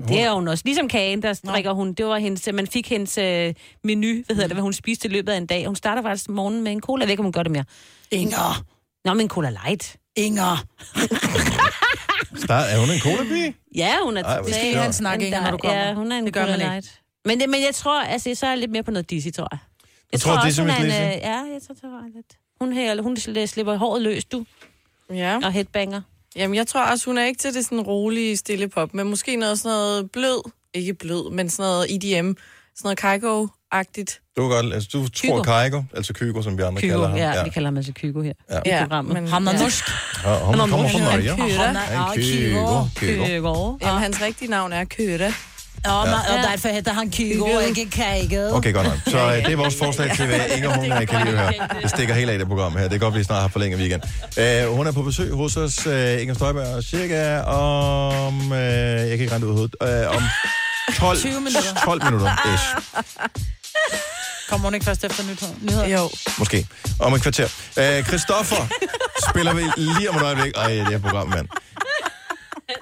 Det er hun også. Ligesom kagen, der drikker hun. Det var hendes, man fik hendes øh, menu, hvad hedder
Mm.
det, hvad hun spiste i løbet af en dag. Hun starter faktisk morgenen med en cola. Jeg ved ikke, om hun gør det mere.
Inger.
Nå, men en cola light.
Inger.
Start, er hun en colapige?
Ja, hun er
Ej, hvor
totalt-
skal vi have en
snak,
den
Inger,
der-
når du kommer.
Ja, hun er en det
Det gør
cola
man ikke.
light. Men, det, men jeg tror, altså, så er jeg lidt mere på noget dizzy, tror jeg. Jeg
tror, Dizzy
hun
Miss
en, øh,
Lizzy?
Ja, jeg tror, det var lidt. Hun, her, hun sl- slipper håret løs, du,
Ja.
og headbanger.
Jamen, jeg tror også, hun er ikke til det sådan rolige, stille pop, men måske noget sådan noget blød. Ikke blød, men sådan noget EDM. Sådan noget Kygo-agtigt.
Du, kan godt, altså, du tror
Kygo.
Kygo, altså Kygo, som vi andre
Kygo,
kalder ham.
ja, vi kalder ham altså Kygo her.
Ja.
I programmet.
Ham der
ja.
norsk.
Og hun
Nå,
kommer
men-
fra Maria.
Han kører.
Han
Han Kygo. Kygo.
Kygo.
Jamen, hans rigtige navn er Køde.
Ja, men, og derfor hedder han Kygo, og ikke Kygo.
Okay, godt nok. Så øh, det er vores forslag til, hvad Inger hun øh, kan lide at høre. Det stikker helt af i det program her. Det kan godt, vi snart har forlænget weekend. Øh, hun er på besøg hos os, øh, Inger Støjberg, cirka om... Øh, jeg kan ikke rende ud af hovedet. Øh, om 12,
20 minutter.
12 minutter. Ish,
Kommer hun ikke først efter nytår? nyheder?
Jo.
måske. Om et kvarter. Øh, Christoffer spiller vi lige om et øjeblik. Ej, det her program, mand.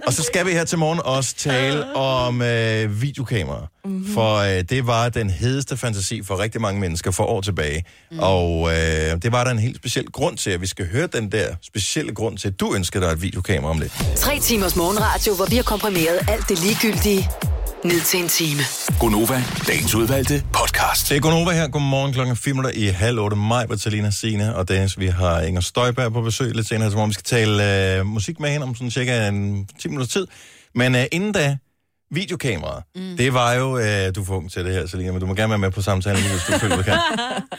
Og så skal vi her til morgen også tale om øh, videokameraer. Mm-hmm. For øh, det var den hedeste fantasi for rigtig mange mennesker for år tilbage. Mm. Og øh, det var der en helt speciel grund til, at vi skal høre den der specielle grund til, at du ønskede dig et videokamera om lidt.
Tre timers morgenradio, hvor vi har komprimeret alt det ligegyldige ned til en time.
Gonova, dagens udvalgte podcast.
Det er Gunova her. Godmorgen klokken 5 minutter i halv 8. Maj, Bertalina Sine og Dennis. Vi har Inger Støjberg på besøg lidt senere, som om vi skal tale øh, musik med hende om sådan cirka en 10 minutter tid. Men øh, inden da, videokameraet. Mm. Det var jo, øh, du får ung til det her, Selina, men du må gerne være med på samtalen, hvis du føler, du kan.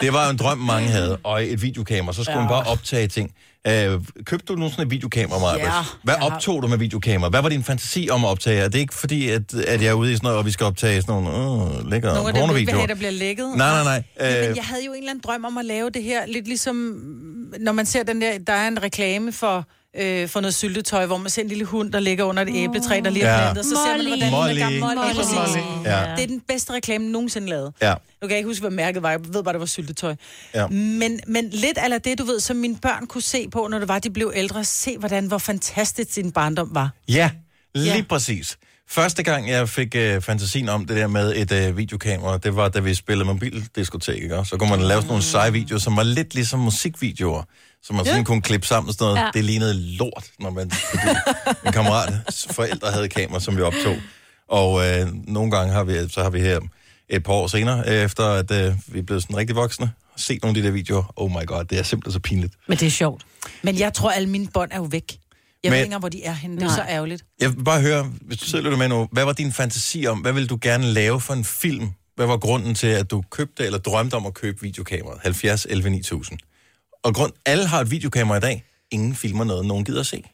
Det var jo en drøm, mange havde, og et videokamera, så skulle ja. man bare optage ting. Øh, købte du nogensinde et videokamera, Maja?
Ja,
Hvad optog du med videokamera? Hvad var din fantasi om at optage? Og Det er ikke fordi, at, at jeg er ude i sådan noget, og vi skal optage sådan nogle øh, lækre
Nogle af dem, du ikke vil
pornovideoer.
have, der bliver lækket.
Nej, nej, nej.
Ja,
Øh,
men jeg havde jo en eller anden drøm om at lave det her, lidt ligesom, mm, når man ser den der, der er en reklame for, øh, for noget syltetøj, hvor man ser en lille hund, der ligger under et æbletræ, der lige er
Ja.
plantet, så ser man, hvordan
Molly.
den er gammel.
Molly.
Lige præcis.
Molly. Ja.
Det er den bedste reklame nogensinde lavet.
Ja.
Nu kan jeg ikke huske, hvad mærket var. Jeg ved bare, det var syltetøj.
Ja.
Men, men lidt af det, du ved, som mine børn kunne se på, når det var, de blev ældre. Se, hvordan, hvor fantastisk sin barndom var.
ja, lige
Ja.
præcis. Første gang, jeg fik øh, fantasien om det der med et øh, videokamera, det var, da vi spillede mobildiskotek, ikke? også? Så kunne man lave sådan nogle seje videoer, som var lidt ligesom musikvideoer, som man sådan kunne klippe sammen og sådan noget. Ja.
Ja.
Det lignede lort, når man... Fordi en kammerats forældre havde et kamera, som vi optog. Og øh, nogle gange har vi, så har vi her et par år senere, øh, efter at øh, vi er blevet sådan rigtig voksne, set nogle af de der videoer. Oh my god, det er simpelthen så pinligt.
Men det er sjovt.
Men jeg tror, alle mine bånd er jo væk. Jeg
Men-
ved ikke engang, hvor de er henne. Det er jo så ærgerligt.
Jeg vil bare høre, hvis du sidder og lytter med nu, hvad var din fantasi om, hvad ville du gerne lave for en film? Hvad var grunden til, at du købte eller drømte om at købe videokameraet? 70 11 9000. Og grund, alle har et videokamera i dag. Ingen filmer noget, nogen gider se.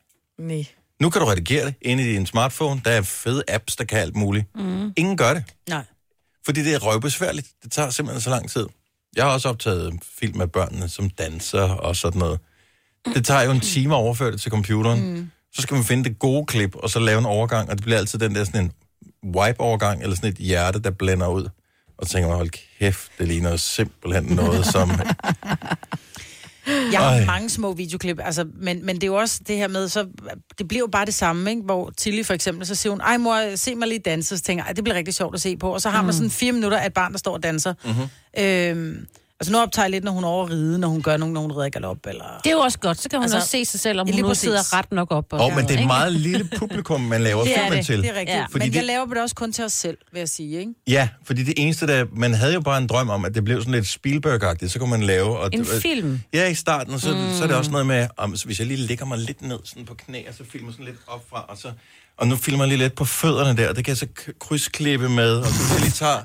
Nej.
Nu kan du redigere det inde i din smartphone. Der er fede apps, der kan alt muligt. Mm. Ingen gør det,
Nej.
fordi det er røvbesværligt. Det tager simpelthen så lang tid. Jeg har også optaget film med børnene, som danser og sådan noget. Det tager jo en time at overføre det til computeren. Mm. Så skal man finde det gode klip, og så lave en overgang, og det bliver altid den der sådan en wipe-overgang, eller sådan et hjerte, der blænder ud. Og så tænker man, hold kæft, det ligner jo simpelthen noget, som...
Jeg har
Ej.
Ej. mange små videoklip, altså, men, men det er jo også det her med, så det bliver jo bare det samme, ikke? hvor Tilly for eksempel, så siger hun, ej mor, se mig lige danse, så tænker jeg, "Ej, det bliver rigtig sjovt at se på, og så har man sådan fire minutter af et barn, der står og danser. Mm-hmm. Øhm, altså nu optager jeg lidt, når hun er over at ride, når hun gør nogen, når hun rider galop, eller...
Det er jo også godt, så kan hun altså,
Altså,
også se sig selv, om
lige
hun nu
præcis.
sidder ret nok op.
Åh,
sådan
oh, men det er
noget,
et
ikke?
meget lille publikum, man laver
Det er
filmen
det.
til.
Det er rigtigt,
Ja.
ja.
Fordi
men det... jeg
det-
laver det også kun til os selv, vil jeg sige, ikke?
Ja, fordi det eneste, der... Man havde jo bare en drøm om, at det blev sådan lidt Spielberg-agtigt, så kunne man lave... Og,
En film.
Ja, i starten, så, mm. så er det også noget med, om, så hvis jeg lige lægger mig lidt ned sådan på knæ, og så filmer sådan lidt opfra, og så... Og nu filmer jeg lige lidt på fødderne der, og det kan jeg så k- krydsklippe med, og så hvis jeg lige tager...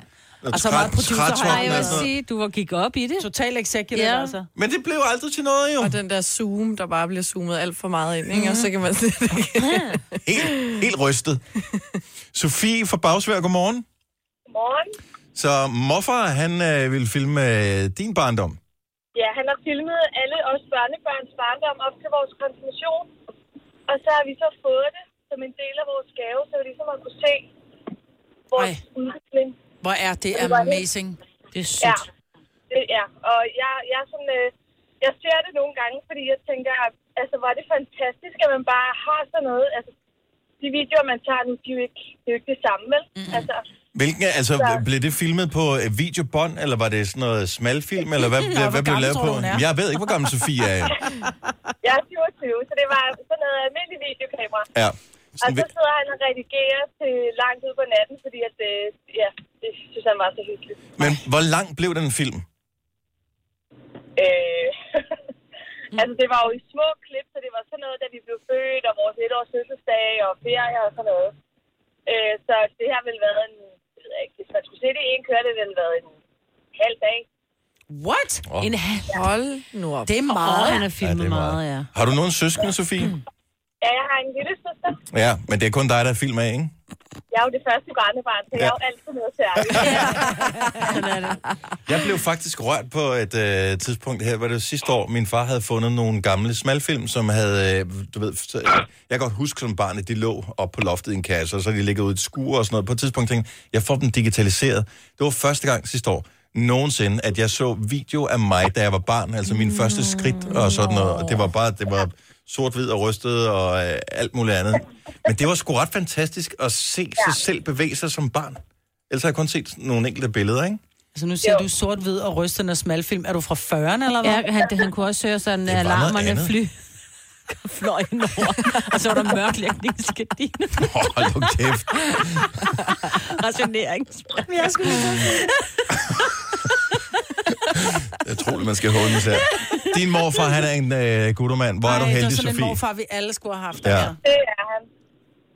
Og så meget
træ-
producer-
trætoppen
Ej, jeg
og
vil
sådan noget.
sige, du var gik op i det.
Total executive,
Ja.
ja. altså.
Men det blev aldrig til noget, jo.
Og den der zoom, der bare bliver zoomet alt for meget ind, ikke? Og så kan man slet ikke...
Helt, helt rystet. Sofie fra Bagsvær, godmorgen.
Godmorgen.
Så morfar, han øh, ville filme øh, din barndom.
Ja, han har filmet alle os børnebørns barndom op til vores konfirmation. Og så har vi så fået det som en del af vores gave, så vi ligesom har kunne se vores
Ej.
udvikling.
Hvor er det amazing.
Det er sødt.
øh, Ja, det er. Og jeg, jeg, er sådan, øh, jeg ser det nogle gange, fordi jeg tænker, altså var det fantastisk, at man bare har sådan noget. Altså, de videoer, man tager nu, de er jo ikke, de er jo ikke det samme, vel? Mm-hmm. Altså,
Hvilken, altså, ja. blev det filmet på øh, videobånd, eller var det sådan noget smalfilm, eller hvad, Nå, hvad blev det
gammel
lavet
tror du,
på?
hun er?
Jeg ved ikke, hvor gammel Sofie er.
jeg er 27, så det var sådan noget almindeligt videokamera.
Ja.
Og
Sådan,
Altså, så
ved-
sidder han og redigerer til langt ud på natten, fordi at, øh, ja, det synes han var så hyggeligt.
men hvor lang blev den film?
Øh,
Mm.
altså, det var jo i små klip, så det var sådan noget, da vi blev født, og vores etårs fødselsdag og ferie og sådan noget. Øh, så det har vel været en, jeg ved ikke, hvis man skulle se det i en køre, det ville været en halv dag.
What?
Oh.
En halv.
Hold nu op.
Det er
Åh,
meget.
han har
Ja,
filmet
det er meget.
meget, ja.
Har du nogen søskende, Sofie?
Ja, jeg har en lille søster.
Ja, men det er kun dig, der er film af, ikke?
Jeg er jo det første barnebarn, så jeg er jo altid noget særligt.
Jeg blev faktisk rørt på et øh, tidspunkt her, var det sidste år, min far havde fundet nogle gamle smalfilm, som havde, øh, du ved, så, øh, jeg kan godt huske som barn, at de lå op på loftet i en kasse, og så de ligget ud i et skur og sådan noget. På et tidspunkt tænkte jeg, jeg får dem digitaliseret. Det var første gang sidste år nogensinde, at jeg så video af mig, da jeg var barn, altså mine første skridt og sådan noget. Og det var bare, det var sort-hvid og rystet og øh, alt muligt andet. Men det var sgu ret fantastisk at se sig selv bevæge sig som barn. Ellers har jeg kun set nogle enkelte billeder, ikke?
Altså nu siger jo. du sort-hvid og rystende og smalfilm. Er du fra 40'erne, eller hvad?
Ja, han, det, han kunne også høre sådan
var noget
alarmerne
andet.
fly. fløj over, og så var der mørklægningsgardiner
Hold nu kæft.
og rationeringsspil.
Det er troligt, man skal håne sig. Din morfar, han er en øh, guttermand. Hvor er du
Ej, det var
heldig,
sådan en
Sofie.
morfar, vi alle skulle have haft.
Ja.
altså.
Det er han.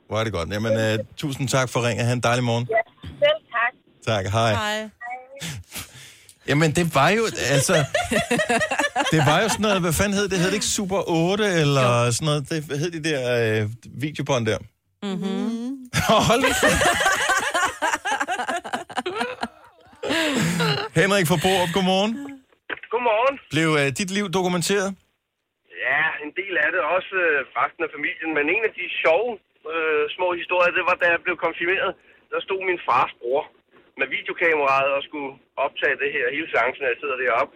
Hvor er det godt. Jamen, øh, tusind tak for ringet. Ha' en dejlig morgen.
Ja. Selv tak.
Tak, hej.
Ej.
Jamen, det var jo, altså... det var jo sådan noget, hvad fanden hed det? Hed det ikke Super 8 eller sådan noget? Det, hvad hed de der øh, videobånd der? Mhm.
Mm-hmm.
Hold nu kæft. Henrik fra Borup, godmorgen.
Godmorgen.
Blev øh, dit liv dokumenteret?
Ja, en del af det, også øh, resten af familien. Men en af de sjove øh, små historier, det var, da jeg blev konfirmeret. Der stod min fars bror med videokameraet og skulle optage det her hele chancen, jeg sidder deroppe.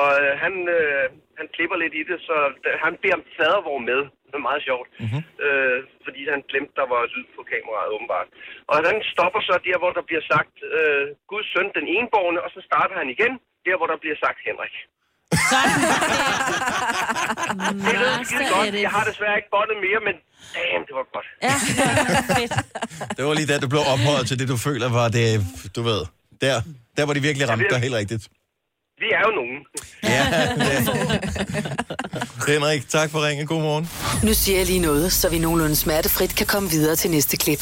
Og øh, han, øh, han klipper lidt i det, så da- han beder om fadervor med. Det er meget sjovt, mm-hmm. øh, fordi han glemte, der var lyd på kameraet åbenbart. Og han stopper så der, hvor der bliver sagt øh, Guds søn, den enborgne, og så starter han igen, der hvor der bliver sagt Henrik. Det
Ah,
lød skide godt. Jeg har desværre ikke båndet mere, men damn, det var godt.
Ja, fedt.
Det var lige der, du blev ophøjet til det, du føler var det, du ved, der, der hvor de virkelig ramte dig helt rigtigt.
Vi er jo nogen.
Ja, det. Henrik, tak for ringen. God morgen.
Nu siger jeg lige noget, så vi nogenlunde smertefrit kan komme videre til næste klip.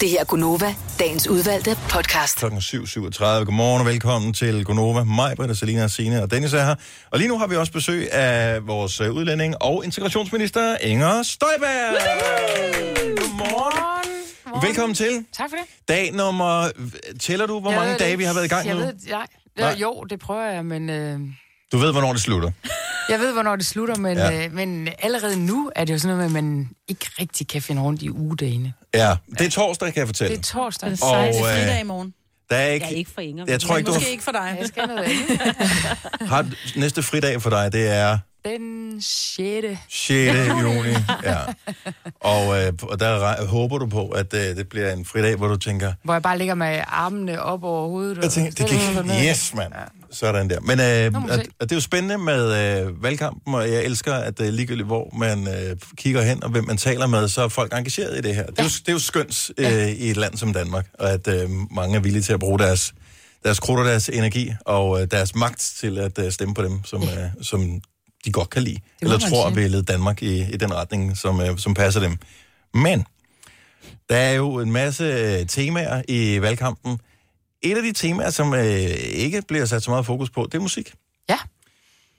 Det her er Gunova, dagens udvalgte podcast.
Klokken 7.37. Godmorgen og velkommen til Gonova. Mig, Britta, Selina, Signe og Dennis er her. Og lige nu har vi også besøg af vores øh, udlænding og integrationsminister, Inger Støjberg. Velkommen til.
Tak for det.
Dag nummer... Tæller du, hvor
Jeg
mange
ved det
dage
ikke.
vi har været i gang
jeg
nu?
Ved, det- nej.
Nej.
nej. Jo, det prøver jeg, men... Øh,
Du ved, hvornår det slutter.
jeg ved, hvornår det slutter, men,
Ja.
ja. øh, men allerede nu er det jo sådan noget med, at man ikke rigtig kan finde rundt i ugedagene.
Ja, det er torsdag, kan jeg fortælle.
Det er torsdag.
Den Og, 16. øh, fridag i
morgen.
Der er ikke...
Jeg er ikke for Inger.
Jeg tror
Men
ikke, du
måske
har...
ikke
for dig.
Jeg skal noget andet.
har... Næste fridag for dig, det er
Den 6.
6. juni. Ja. Og, øh, og der re- håber du på, at øh, det bliver en fridag, hvor du tænker,
Hvor jeg bare ligger med armene op over hovedet.
Jeg tænker, det gik, yes, mand. Sådan der. Men
Nå, må
øh,
vi
at,
se.
at det er jo spændende med øh, valgkampen, og jeg elsker, at øh, ligegyldigt hvor man øh, kigger hen, og hvem man taler med, så er folk engageret i det her. Det er jo, det er jo skønt øh, i et land som Danmark, og at øh, mange er villige til at bruge deres, deres krudt og deres energi og øh, deres magt til at øh, stemme på dem, som, øh, som de godt kan lide. Eller
man
tror, at
sige.
vi leder Danmark i, i den retning, som, øh, som passer dem. Men der er jo en masse øh, temaer i valgkampen. Et af de temaer, som øh, ikke bliver sat så meget fokus på, det er musik.
Ja.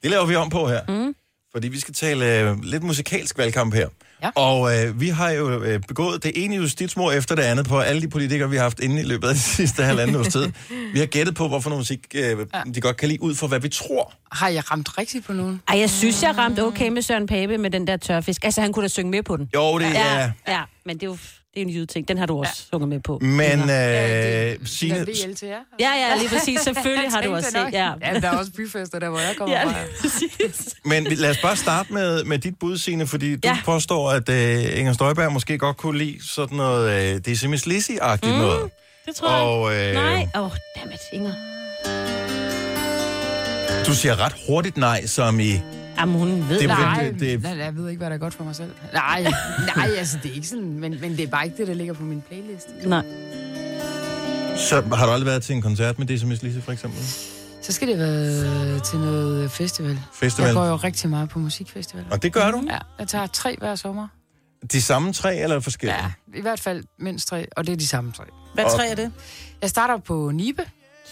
Det laver vi om på her. Mm. Fordi vi skal tale øh, lidt musikalsk valgkamp her. Ja. Og øh, vi har jo øh, begået det ene justitsmord efter det andet på alle de politikere, vi har haft inde i løbet af de sidste halvanden års tid. Vi har gættet på, hvorfor noget musik øh, ja. de godt kan lide, ud fra hvad vi tror.
Har jeg ramt rigtigt på nogen?
Ej, jeg synes, jeg ramte okay med Søren Pape med den der tørfisk. Altså, han kunne da synge med på den.
Jo, det er-
Ja, ja men det er jo det er en jydeting. Den har du også ja. sunget med på.
Men
Ja,
øh, Signe,
Ja,
Ja, ja, lige præcis. Selvfølgelig har du også set. Ja.
ja der er også byfester, der hvor jeg kommer
Ja,
fra.
lige præcis.
Men vi- lad os bare starte med, med dit bud, Signe, fordi du ja. påstår, at øh, Inger Støjberg måske godt kunne lide sådan noget øh, Dizzy Miss Lizzy-agtigt mm. noget.
Det tror jeg.
Og,
ikke.
øh,
Nej. Åh, oh, dammit, Inger.
Du siger ret hurtigt nej, som i...
Jamen, hun
Det,
nej,
øh, det, det,
nej, jeg ved ikke, hvad der er godt for mig selv. Nej, nej, altså det er ikke sådan, men, men det er bare ikke det, der ligger på min playlist.
Nej.
så har du aldrig været til en koncert med Dizzy Miss Lizzy, for eksempel?
Så skal det være til noget festival.
Festival.
Jeg går jo rigtig meget på musikfestivaler.
Og det gør du?
Ja, jeg tager tre hver sommer.
De samme tre, eller forskellige? Ja.
I hvert fald mindst tre, og det er de samme tre.
Hvad Og- tre er
det? Jeg starter på Nibe,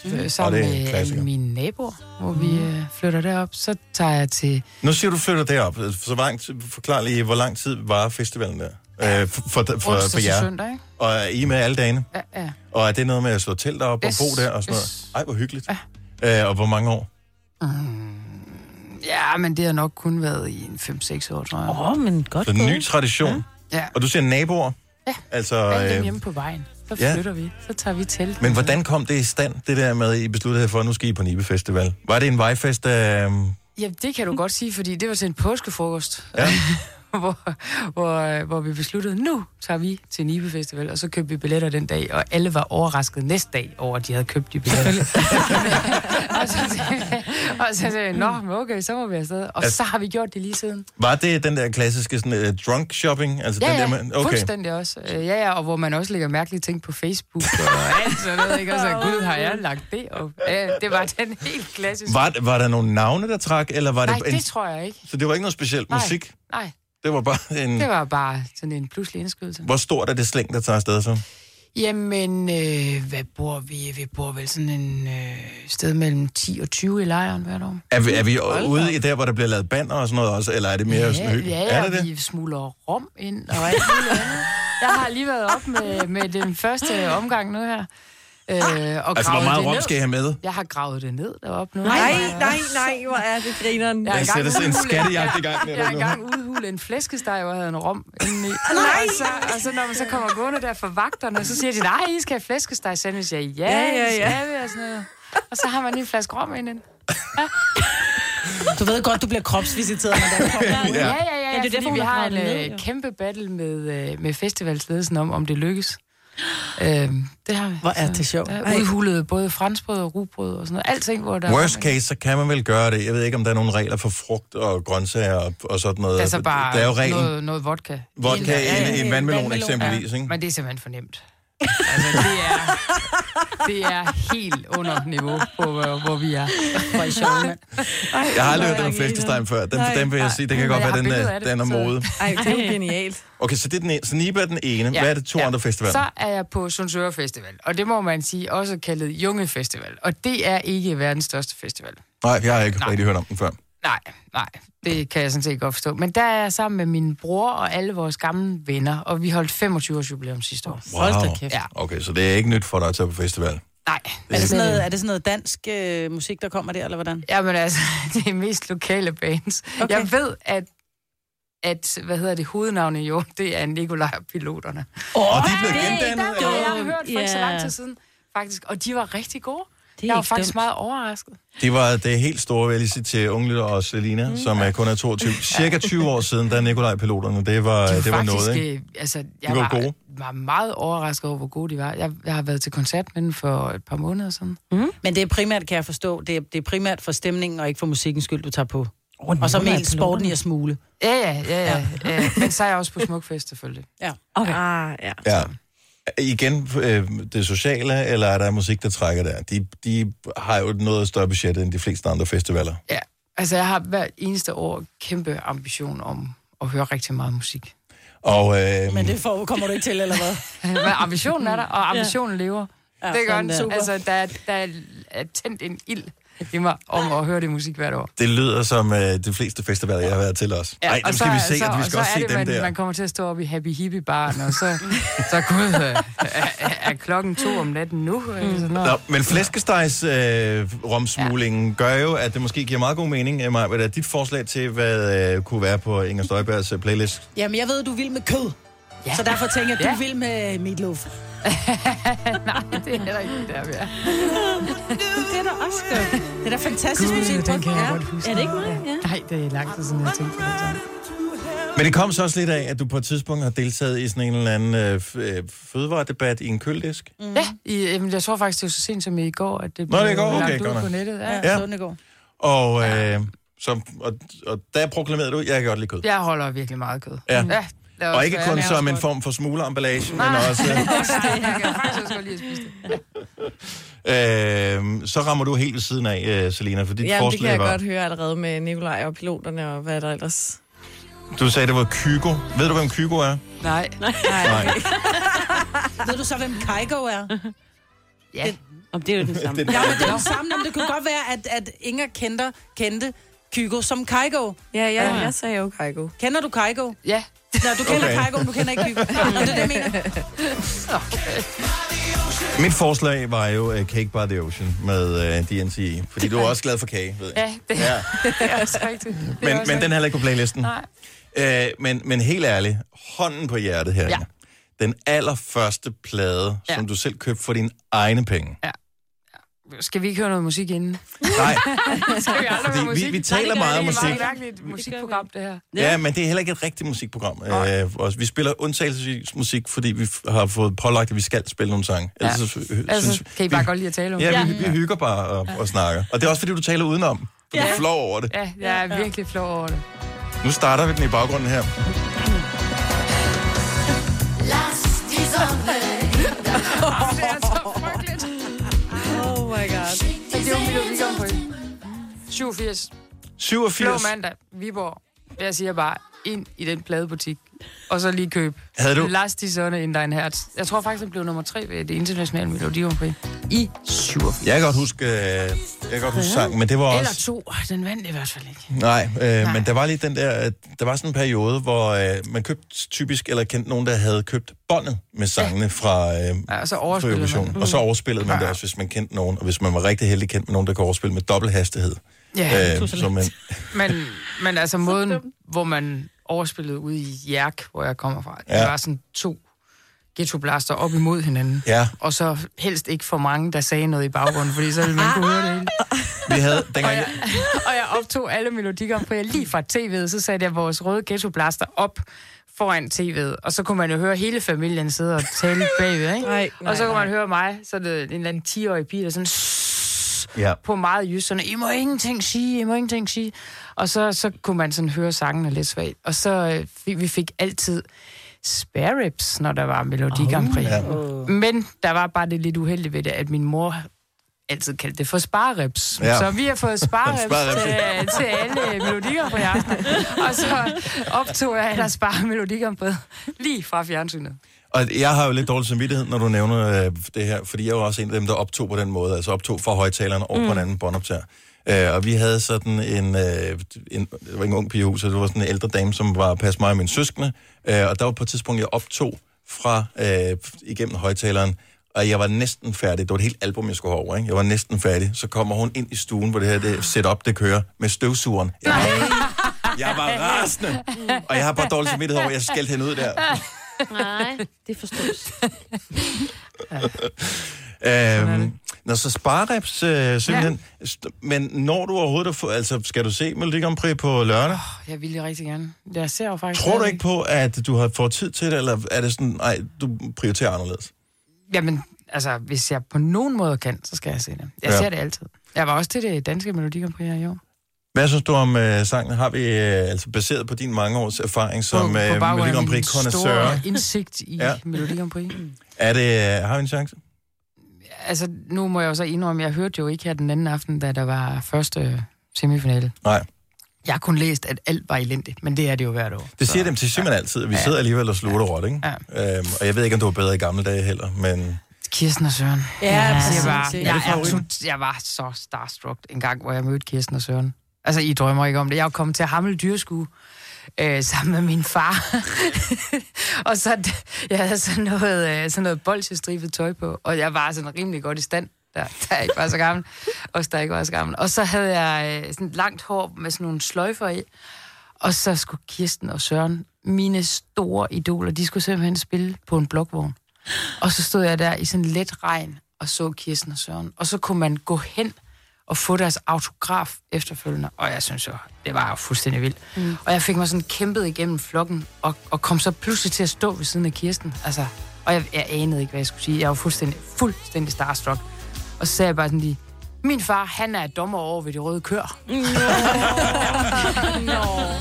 Og
øh, sammen
det er en
med
klassiker. Mm.
alle mine naboer, hvor vi øh, flytter derop. Så tager jeg til...
Nu siger du, flytter derop. Så langt, forklar lige, hvor lang tid var festivalen der? Ja. Øh, for, for, for,
Onsdag
for
til
jer.
søndag, ikke?
Og er I med alle dagene?
Ja, ja.
Og er det noget med at slå telt op og
Yes,
bo der og sådan noget? Ej, hvor hyggeligt. Ja. Øh, og hvor mange år?
ja, men det har nok kun været i en 5-6 år, tror jeg.
Åh, oh, men godt
Så en ny tradition.
Ja. Ja.
Og du siger naboer?
Ja.
Altså,
Alle dem
øh,
hjemme på vejen. Så
ja.
flytter vi. Så tager vi telt.
men hvordan kom det i stand, det der med, at I besluttede jer for, at nu skal I på Nibe Festival? Var det en vejfest? Øh,
Ja, det kan du godt sige, fordi det var til en påskefrokost.
Ja.
hvor, hvor, øh, hvor vi besluttede, nu tager vi til Nibe Festival, og så købte vi billetter den dag, og alle var overrasket næste dag over, at de havde købt de billetter. og så sagde- og så sagde jeg, nå, men okay, så må vi afsted. Og
Altså-
så har vi gjort det lige siden.
var det den der klassiske sådan, øh, drunk shopping? Altså
Ja,
den der,
ja,
man-
fuldstændig også. Øh, Ja, ja, og hvor man også lægger mærkelige ting på Facebook og alt sådan noget, ikke? Og så, gud, har jeg lagt det op? Ja, det var den helt klassiske.
Var, var der nogle navne, der trak? Eller var
Nej,
det en,
det tror jeg ikke.
Så det var ikke noget specielt
Nej.
musik?
Nej,
Det var bare en...
det var bare sådan en pludselig indskydelse.
Hvor stort er det slæng, der tager afsted så?
Jamen, øh, hvad bor vi? Vi bor vel sådan en øh, sted mellem 10 og 20 i lejren hvert år.
Er vi, er vi ude i der, hvor der bliver lavet banner og sådan noget også, eller er det mere
ja,
sådan hyggeligt?
ja,
er
og
det det?
vi smugler rom ind og alt muligt andet. Jeg har lige været op med, med den første omgang nu her. Øh, og
Altså, hvor
gravet
meget
det
rom
ned.
skal I have med?
Jeg har gravet det ned deroppe nu.
Nej, nej, nej, hvor er det grineren.
Jeg er i
Der
gang
sættes
med
en
udhule-
skattejagt i gang.
Jeg
eller
har
noget.
engang udhulet en flæskesteg, hvor jeg havde en rom indeni.
Ah,
Nej!
Og, så, og så når man så kommer gående der for vagterne, så siger de, nej, I skal have flæskesteg sandwich. Jeg, ja,
Ja,
ja,
ja, ja."
ja, ja. Og, sådan noget. og så har man lige en flaske rom inden.
Du ved godt, du bliver kropsvisiteret, når der kommer.
Ja, ja, ja, ja,
det er
ja det er
derfor,
fordi vi
hun har
har en
gravet det ned,
øh,
jo.
kæmpe battle med, øh, med festivalsledelsen om, om det lykkes. Øhm, det har vi.
Hvor er det sjovt.
Der
Ej.
er udhulet både franskbrød og rugbrød og sådan noget. Alting, hvor der
Worst case, så kan man vel gøre det. Jeg ved ikke, om der er nogle regler for frugt og grøntsager og, og sådan noget.
Der er så Altså bare
der er jo reglen.
Noget, noget vodka.
Vodka i en- i en vandmelon eksempelvis,
Ja,
ikke?
Men det er simpelthen for nemt. Altså, det er, det er helt under niveau, på, hvor, hvor vi er. Hvor I sjove, mand.
Jeg har aldrig hørt den om flæskesteg før. Den, den vil jeg sige, det kan
Men
godt
jeg
være,
har
den,
billeder
er,
af det,
den er
så-
mode.
Ej, det er jo genialt.
Okay, så, det er den ene. så Nibe er den ene. Hvad er det to andre festivaler?
Så er jeg på Sundsøre Festival, og det må man sige også kaldet Junge Festival. Og det er ikke verdens største festival.
Nej, jeg har ikke rigtig hørt om den før.
Nej, nej, det kan jeg sådan set godt forstå. Men der er jeg sammen med min bror og alle vores gamle venner, og vi holdt 25-års jubilæum sidste år. Ja.
Okay, så det er ikke nyt for dig at tage på festival.
Nej.
Er det sådan noget, er det sådan noget dansk øh, musik, der kommer der, eller hvordan?
Jamen altså, det er mest lokale bands. Okay. Jeg ved, at, at hvad hedder det, hovednavnet jo, det er Nikolaj og Piloterne.
Åh, oh, de
er
blevet
gendannet? Det har jeg hørt for yeah. ikke så lang
Ja.
tid siden, faktisk. Og de var rigtig gode.
er
jeg var
ikke
faktisk
dumt.
meget overrasket.
Det var det helt store, vil jeg lige sige til Ungle og Selina, mm. som er kun er 22. Cirka 20 år siden, da Nikolaj-piloterne, det var, det var
faktisk,
noget, ikke?
øh, Altså, jeg
De var
var,
gode.
var, var meget overrasket over, hvor gode de var. Jeg, jeg har været til koncert med dem for et par måneder siden.
Mm. Men det er primært, kan jeg forstå, det er, det er primært for stemningen og ikke for musikkens skyld, du tager på. Oh, og så
Nikolaj
med sporten i
Piloterne.
at smule.
Ja, ja, ja. ja. ja. Men så er jeg også på Smukfest, selvfølgelig.
Ja.
Okay.
Ah, ja.
Ja. Igen, øh, det sociale, eller er der musik, der trækker der? De, de har jo et noget større budget end de fleste andre festivaler.
Ja, altså jeg har hvert eneste år kæmpe ambition om at høre rigtig meget musik.
Og, øh,
Men det får, kommer du ikke til, eller hvad?
Men ambitionen er der, og ambitionen lever.
Ja,
det gør
sådan
den.
der.
Altså, der, er- der er- er tændt en ild i mig om at høre det musik hvert år.
det lyder som øh, de fleste festivaler, jeg har været til os. Nej, dem
og
skal
så-
vi se,
så,
og vi
og
skal
så
også
er
se
det,
dem
man,
der.
Man kommer til at stå op i Happy Hippie Baren, og så, så gud, øh, er, er, klokken to om natten nu, eller sådan noget.
Nå, men flæskestegs øh, romsmuglingen ja. gør jo, at det måske giver meget god mening, Emma, hvad er dit forslag til, hvad øh, kunne være på Inger Støjbergs øh, playlist?
Jamen, jeg ved, du vil med kød. Ja. Så derfor tænker jeg, du ja. vil med meatloaf.
Nej, det er heller ikke der, vi er.
det er da også godt. Det er da fantastisk musik. Den kan jeg ja. godt huske. Er det ikke mig? Ja.
Nej, det er lang tid siden, jeg tænkte på det. sådan.
Men det kom så også lidt af, at du på et tidspunkt har deltaget i sådan en eller anden øh, f- øh, fødevaredebat i en køledisk.
Ja, i, jamen, jeg tror faktisk, det var så sent som i går, at det
Nå,
blev
det er i går? Okay,
lagt
godt
ud
nok.
på nettet. Ja.
Ja.
i går.
Og, øh, så, og, og der proklamerede du, jeg kan godt lide kød.
Jeg holder virkelig meget kød.
Ja.
ja lad os
Og ikke
være
kun
ærlige.
som en form for smugleremballage, men
Nej.
også...
Jeg kan faktisk også godt lide at spise det.
Øh, så rammer du helt ved siden af, øh, Selina, for dit
Jamen, det kan
forslag
jeg
var...
godt høre allerede med Nikolaj og piloterne og hvad der ellers...
Du sagde, det var Kygo. Ved du, hvem Kygo er?
Nej.
Nej.
Nej.
Ved du så, hvem Kaigo er?
Ja.
Om det er jo den
samme.
Ja, men det er den samme, men det kunne godt være, at, at Inger kendte, kendte Kygo som Kaigo.
Ja, ja, jeg sagde jo Kaigo.
Kender du Kaigo?
Ja.
Nå, du kender
Okay.
okay. Kaigo, men du kender ikke Kygo. Nå, det er det, jeg mener.
Mit forslag var jo uh, Cake by the Ocean med uh, DNCE, fordi du er også glad for kage, ved jeg.
Ja, det,
Ja.
ja. det er også rigtigt. Det er
Men,
også
men den er heller ikke på playlisten.
Nej.
Øh, men, men helt ærligt, hånden på hjertet her. Ja. Den allerførste plade, ja.
Ja.
som du selv købte for dine egne penge.
rigtigt. Skal vi ikke høre noget musik inden?
Nej,
Skal vi aldrig høre
fordi vi,
musik?
vi taler
Nej,
meget om
Det er
musik.
et meget mærkeligt musikprogram, det her.
Ja. ja, men det er heller ikke et rigtigt musikprogram. Øh, også, vi spiller undtagelsesvis musik, fordi vi f- har fået pålagt, at vi skal spille nogle sange. Ja. Ellers, så, øh,
Altså,
synes,
kan I bare godt lide at tale om
ja,
det?
vi, vi hygger bare og, og snakker. Og det er også, fordi du taler udenom. Du er flov over det.
Ja, jeg er virkelig flov over det.
Nu starter vi den i baggrunden her.
Det er så frygteligt.
Oh my god.
Men det er jo mit weekend på en. 87.
87.
Blå mandag, Viborg. Jeg siger bare, ind i den pladebutik, og så lige køb.
Havde du-
Last i Sonne in Dein Herz. Jeg tror faktisk, den blev nummer tre ved det internationale Melodi Grand Prix. I 87.
Jeg kan godt huske, øh, jeg kan godt huske sangen, men det var
Eller
også...
to. Den vandt i hvert fald ikke.
Nej, øh, Nej, men der var lige den der, øh, der var sådan en periode, hvor øh, man købte typisk, eller kendte nogen, der havde købt båndet med sangene fra, øh,
Ja, og så
fra
overspillede
Eurovision.
man.
Og så overspillede man det også, hvis man kendte nogen, og hvis man var rigtig heldig kendt med nogen, der kunne overspille med dobbelt hastighed.
Ja,
øh, så man,
Men, men altså måden, hvor man overspillede ude i Jærk, hvor jeg kommer fra, ja.
Ja.
det var sådan to ghettoblaster op imod hinanden.
ja,
Og så helst ikke for mange, der sagde noget i baggrunden, fordi så ville man kunne høre det hele.
vi havde dengang... Jeg,
Og jeg optog alle melodikker på jeg lige fra tv'et, så satte jeg vores røde ghettoblaster op foran tv'et, og så kunne man jo høre hele familien sidde og tale bagved, ikke?
Nej, nej,
og så kunne man
nej.
høre mig, så er det en eller anden 10-årig pige, der sådan "Sss",
Ja.
på meget jysk, sådan, I må ingenting sige, I må ingenting sige. Og så, så kunne man sådan høre sangene lidt svagt. Og så øh, fik, vi fik altid spare ribs, når der var Melodi Grand Prix.
ja.
Men der var bare det lidt uheldige ved det, at min mor altid kaldte det for sparerips.
Ja.
Ja. Så vi har fået sparerips
Spareribs.
til, til alle melodikker på aften. Og så optog jeg ellers bare melodikker på lige fra fjernsynet.
og jeg har jo lidt dårlig samvittighed, når du nævner øh, det her, fordi jeg var også en af dem, der optog på den måde, altså optog fra højtalerne over mm. på en anden båndoptager. Øh, og vi havde sådan en, øh, en, det var ikke en ung pige i huset, det var sådan en ældre dame, som var pas mig og mine søskende. Øh, og der var på et tidspunkt, jeg optog fra øh, igennem højtaleren, og jeg var næsten færdig. Det var et helt album, jeg skulle have over, ikke? Jeg var næsten færdig. Så kommer hun ind i stuen, hvor det her det setup, det kører, med støvsugeren. Jeg var, jeg var rasende, og jeg har bare dårlig samvittighed over, at jeg skældte hende ud der.
Nej, det forstås.
Øhm, når så sparereps, øh, simpelthen. Ja. Men når du overhovedet har fået, altså skal du se Melodi Grand Prix på lørdag?
Jeg vil jo rigtig gerne. Jeg ser jo faktisk...
Tror du
stadig-
ikke på, at du har fået tid til det, eller er det sådan, nej, du prioriterer anderledes?
Jamen, altså, hvis jeg på nogen måde kan, så skal jeg se det. Jeg
Ja.
ja. ser det altid. Jeg var også til det danske Melodi Grand Prix her i år.
Hvad synes du om øh, sangen? Har vi, øh, altså baseret på din mange års erfaring som
på
øh,
baggrund
Melodi
af
Grand
min
Prix connoisseur,
store indsigt i
Ja.
ja. Melodi Grand Prix.
er det, øh, har vi en chance?
Altså, nu må jeg jo så indrømme, jeg hørte jo ikke her den anden aften, da der var første øh, semifinale.
Nej.
Jeg har kun læst, at alt var elendigt, men det er det jo hvert år.
Det siger dem til simpelthen altid. Vi sidder alligevel og slutter råt, ikke? Øhm, og jeg ved ikke, om du var bedre i gamle dage heller, men...
Kirsten og Søren.
Ja,
jeg,
præcis.
var,
Er det
jeg, er
favoritten?
absolut, jeg var så starstruck en gang, hvor jeg mødte Kirsten og Søren. Altså, I drømmer ikke om det. Jeg er jo kommet til Hammel Dyrskue øh, sammen med min far. og så jeg havde sådan noget, øh, sådan noget bolsjestribet tøj på, og jeg var sådan rimelig godt i stand. Der, der ikke var så gammel. Også der ikke var så gammel. Og så havde jeg øh, sådan langt hår med sådan nogle sløjfer i. Og så skulle Kirsten og Søren, mine store idoler, de skulle simpelthen spille på en blokvogn. Og så stod jeg der i sådan let regn og så Kirsten og Søren. Og så kunne man gå hen og få deres autograf efterfølgende. Og jeg synes jo, det var jo fuldstændig vildt. Mm. Og jeg fik mig sådan kæmpet igennem flokken, og, og kom så pludselig til at stå ved siden af Kirsten. Altså, og jeg, jeg anede ikke, hvad jeg skulle sige. Jeg var fuldstændig, fuldstændig starstruck. Og så sagde jeg bare sådan lige, min far, han er dommer over ved de røde køer. No. no.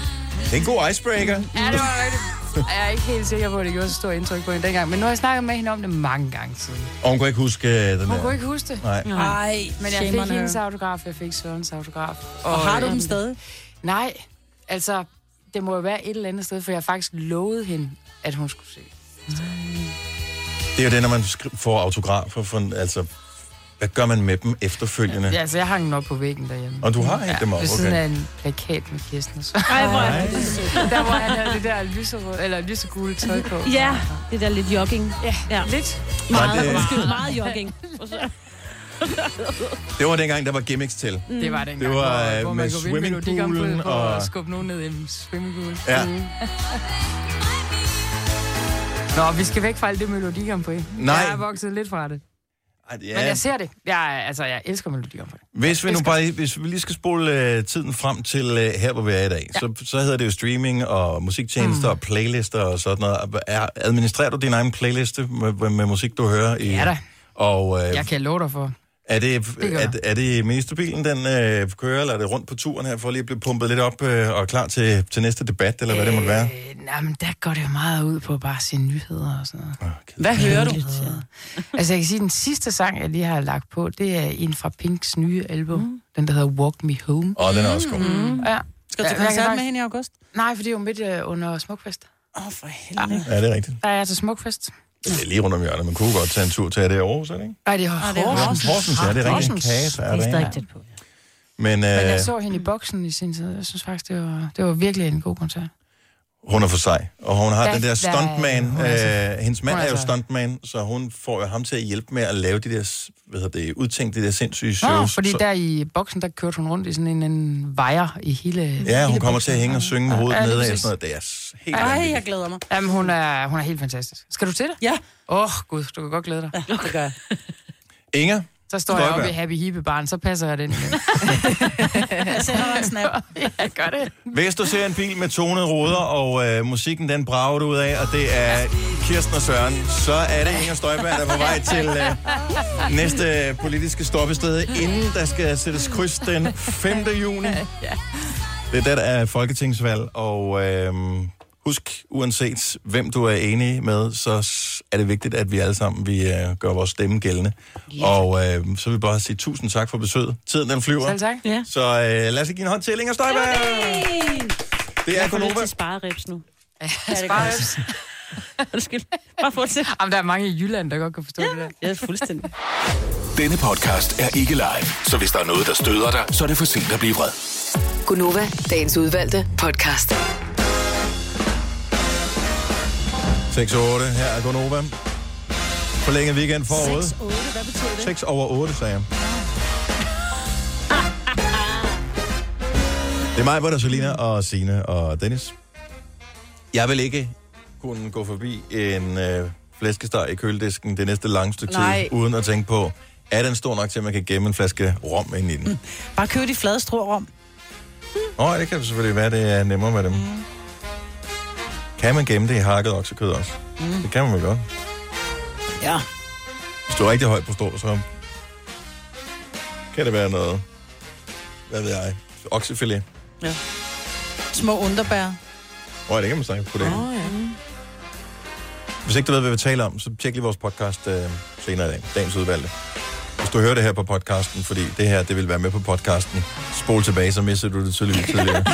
Det er en god icebreaker.
Ja, det var rigtigt. Jeg er ikke helt sikker på, at det gjorde så stort indtryk på hende dengang, men nu har jeg snakket med hende om det mange gange siden.
Og hun kunne ikke huske øh, den
Hun
der.
kunne ikke huske det.
Nej.
Nej. Men jeg
shame
fik
on her.
hendes autograf, jeg fik Sørens autograf. øhm,
Og har du dem stadig?
Nej. Altså, det må jo være et eller andet sted, for jeg har faktisk lovet hende, at hun skulle se.
Det er jo det, når man skri- får autografer. For, altså, hvad gør man med dem efterfølgende?
Ja, altså, jeg hang den op på væggen derhjemme.
Og du har hængt dem op,
Ved siden
okay.
af en plakat med Kirsten. og Så.
Ej, hvor
er
det sødt.
Der, hvor han havde det der lyserøde, eller lysegule tøj på.
Ja, det der lidt jogging. Ja, ja. lidt. Meget,
det-
det... undskyld, meget jogging.
Det var dengang, der var gimmicks til.
Det var dengang,
Det var
hvor,
øh,
hvor
med
man kunne vinde Melodi Grand
swimmingpoolen
Prix på og...
og...
at skubbe nogen ned i en swimmingpool.
Ja.
Mm. Nå, vi skal væk fra alt det Melodi Grand Prix.
Nej.
Jeg er vokset lidt fra det.
Ej,
Ja. Men
ja.
jeg ser det. Jeg, er- altså, jeg elsker Melodi Grand Prix.
Hvis vi nu bare lige- hvis vi lige skal spole øh, tiden frem til øh, her, hvor vi er i dag, ja. så, så hedder det jo streaming og musiktjenester mm. og playlister og sådan noget. Er, administrerer du din egen playliste med, med, med musik, du hører? I,
Ja da.
Og øh,
Jeg kan love dig for.
er det,
Det gør
er, er det ministerbilen, den øh, kører, eller er det rundt på turen her, for lige at blive pumpet lidt op øh, og klar til, til næste debat, eller hvad det måtte være?
Øh, nej, men der går det jo meget ud på bare at se nyheder og sådan noget.
Hvad hører du?
altså, jeg kan sige, at den sidste sang, jeg lige har lagt på, det er en fra Pinks nye album. Mm. Den, der hedder Walk Me Home.
Åh, den er også god.
Mm. Ja.
Skal du til
Ja, jeg kan
koncert med
faktisk-
hende i august?
Nej, for det er jo midt øh, under Smukfest.
Åh, oh, for helvede.
Ja, det er rigtigt.
Der er jeg til Smukfest.
Det er lige rundt om hjørnet. Man kunne godt tage en tur til, er det i Aarhus, er det ikke?
Nej, det er
det er
Horsens.
Horsens, ja, det er rigtigt. En
Horsens.
kage, så er
Det er
det,
stadig
ikke?
tæt på. ja.
Men
Men
øh,
jeg så hende i boksen i sin tid. Jeg synes faktisk, det var, det var virkelig en god koncert.
hun er for sej. Og hun har
Ja,
den der
der er-
stuntman.
hun er så-
Øh, hendes mand
hun
er
er
jo
så-
stuntman, så hun får jo ham til at hjælpe med at lave de der, hvad hedder det, udtænkte de der sindssyge shows.
Nå, Ah, fordi
så,
der i boksen, der kørte hun rundt i sådan en, en vejer i hele
ja, hun
hele
kommer
boksen.
til at hænge og synge med hovedet
Ja,
ja,
lige
nedad. og
præcis.
Sådan noget. Det er s- helt
Ej,
vanvittigt.
jeg glæder mig.
Jamen, hun er, hun er helt fantastisk. Skal du til det?
Ja,
Åh, oh, gud, du kan godt glæde dig.
ja det gør jeg.
Inger,
Så står jeg oppe
Støjberg.
i Happy Hippie Barn, så passer jeg den.
Jeg sender dig en snap.
ja, gør det.
hvis du ser en bil med tonede ruder, og øh, musikken den brager du ud af, og det er Kirsten og Søren, så er det Inger Støjberg, der er på vej til øh, næste politiske stoppested, inden der skal sættes kryds den 5. juni. Det er der, der er folketingsvalg, og øhm, husk, uanset hvem du er enig med, så s- er det vigtigt, at vi alle sammen vi, øh, gør vores stemme gældende. Yeah. Og øhm, så vil jeg bare sige tusind tak for besøget. Tiden den flyver.
Selv tak.
Ja.
Så øh, lad os lige give en hånd til Inger Støjberg. Det er
Jeg får lyst
Gunova.
til sparereps nu.
Sparøps.
Undskyld. Bare fortsæt.
Jamen, der er mange i Jylland, der godt kan forstå det der.
Ja, fuldstændig.
Denne podcast er ikke live, så hvis der er noget, der støder dig, så er det for sent at blive vred.
Gunova, dagens udvalgte podcast.
6 og 8, her er Gonova. Forlænget weekend foråret.
8, hvad betyder
6 over 8, sagde jeg. Det er mig, hvor der Selina og Sine og Dennis. Jeg vil ikke kunne gå forbi en øh, flæskesteg i køledisken det næste lange stykke
Nej.
tid, uden at tænke på, er den stor nok til, at man kan gemme en flaske rom ind i den? Mm.
Bare køb de flade strårum.
Nå, ja, det kan selvfølgelig være, det er nemmere med dem. Mm. Kan man gemme det i hakket oksekød også? Mm. Det kan man vel godt.
Ja.
Hvis du er rigtig højt på strå, så kan det være noget, hvad ved jeg, oksefilet.
Ja. Små underbær.
Åh, det kan man sagtens putte ind.
Åh, ja.
Hvis ikke du ved, hvad vi taler om, så tjek lige vores podcast øh, senere i dag. Dagens udvalgte. Hvis du hører det her på podcasten, fordi det her, det vil være med på podcasten. Spol tilbage, så misser du det tydeligvis tidligere.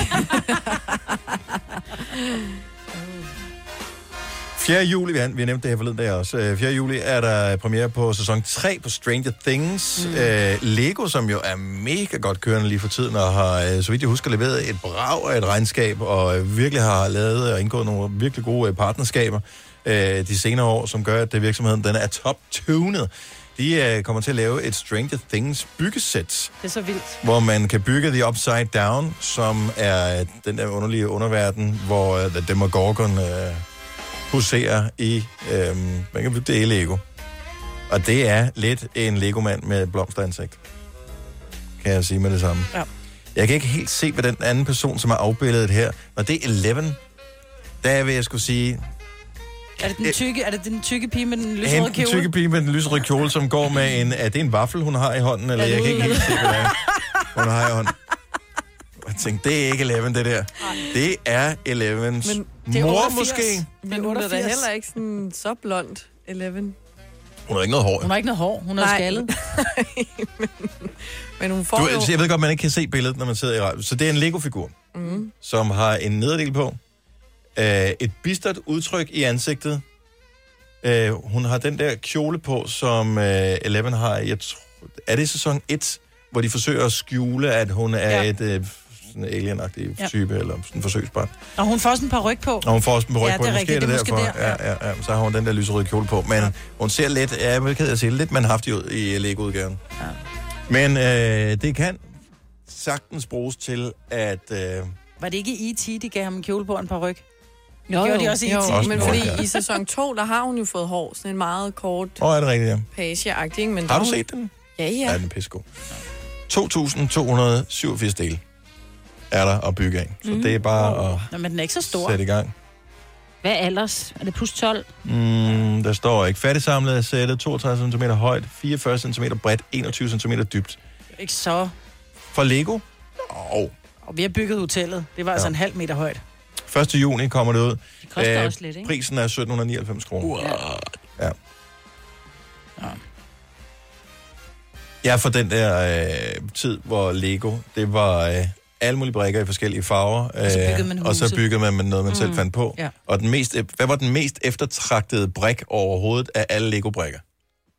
4. juli, vi har, vi har nævnt det her forleden dag også. Øh, 4. juli er der premiere på sæson 3 på Stranger Things. Mm. Øh, Lego, som jo er mega godt kørende lige for tiden, og har, øh, så vidt jeg husker, leveret et brag og et regnskab, og øh, virkelig har lavet og indgået nogle virkelig gode øh, partnerskaber øh, de senere år, som gør, at det virksomheden den er top-tunet. De øh, kommer til at lave et Stranger Things byggesæt,
Det er så vildt.
hvor man kan bygge The Upside Down, som er den der underlige underverden, hvor uh, The Demogorgon uh, huserer i... Uh, man kan bygge det i Lego. Og det er lidt en Lego-mand med et blomsteransigt. Kan jeg sige med det samme.
Ja.
Jeg kan ikke helt se, hvad den anden person, som er afbildet her... Når det er 11, der vil jeg skulle sige...
Er det den tykke, er det den tykke pige med den lyserøde
Hende, den
kjole?
tykke pige med den lyserøde kjole, som går med en... Er det en vaffel, hun har i hånden? Eller jeg kan ikke helt se, hvad det er, hun har i hånden. Jeg tænkte, det er ikke 11, det der. Det er 11's mor, måske.
Men hun er da heller ikke sådan så blond, 11.
Hun har ikke noget hår.
Hun har ikke noget hår, hun er
Nej.
skaldet.
Men hun får
Du,
jo...
altså, jeg ved godt, man ikke kan se billedet, når man sidder i radio. Så det er en Lego-figur,
Mm.
som har en nederdel på, øh, et bistert udtryk i ansigtet. Øh, hun har den der kjole på, som øh, Eleven har. Jeg tror, er det i sæson 1, hvor de forsøger at skjule, at hun er ja. et øh, sådan alien
Ja.
ja. type, eller sådan en forsøgsbarn.
Og hun får også en par ryg på.
Og hun får også en ryg
ja,
på,
det er
måske
rigtigt,
er det,
det er
derfor.
Måske der.
ja, ja, ja. Så har hun den der lyserøde kjole på. Men ja. hun ser lidt, ja, jeg er ked af at sige, lidt manhaftig ud i øh, Lego-udgaven. Ja. Men øh, det kan sagtens bruges til at... Øh,
Var det ikke i E.T., de gav ham en kjole på og en par ryg?
Jo,
Jo, Gjorde
jo.
de også i E
Jo,
E.T.?
Også
men
en
fordi
ryg, ja.
i sæson 2, der har hun jo fået hår. Sådan en meget kort
Åh, er det rigtigt, ja.
pageagtig, ikke? Men
Har
der
du
hun-
set den?
Ja,
Ja,
ja.
den er pissegod. 2.287 dele er der at bygge af. Så
Mm.
Mhm.
det er bare at
Nå, men den er ikke så stor.
sætte i gang.
Hvad ellers? Er det plus 12?
Mm, der står ikke færdigsamlet er sættet, 32 cm højt, 44 cm bredt, 21 cm dybt.
Ikke så.
For Lego? Åh,
Og vi har bygget hotellet. Det var ja. altså
Ja.
en halv meter højt.
1. juni kommer det ud. Det
koster også lidt, ikke?
Øh, Prisen er 1799 kroner. Uh. Wow. Ja. Jeg er fra den der øh, tid, hvor Lego, det var øh, alle mulige brikker i forskellige farver. øh,
Og så byggede man
og så
huse.
byggede man noget, man mm. selv
Mm.
fandt på.
Ja.
Og den mest, øh, hvad var den mest eftertragtede brik overhovedet af alle Lego-brikker?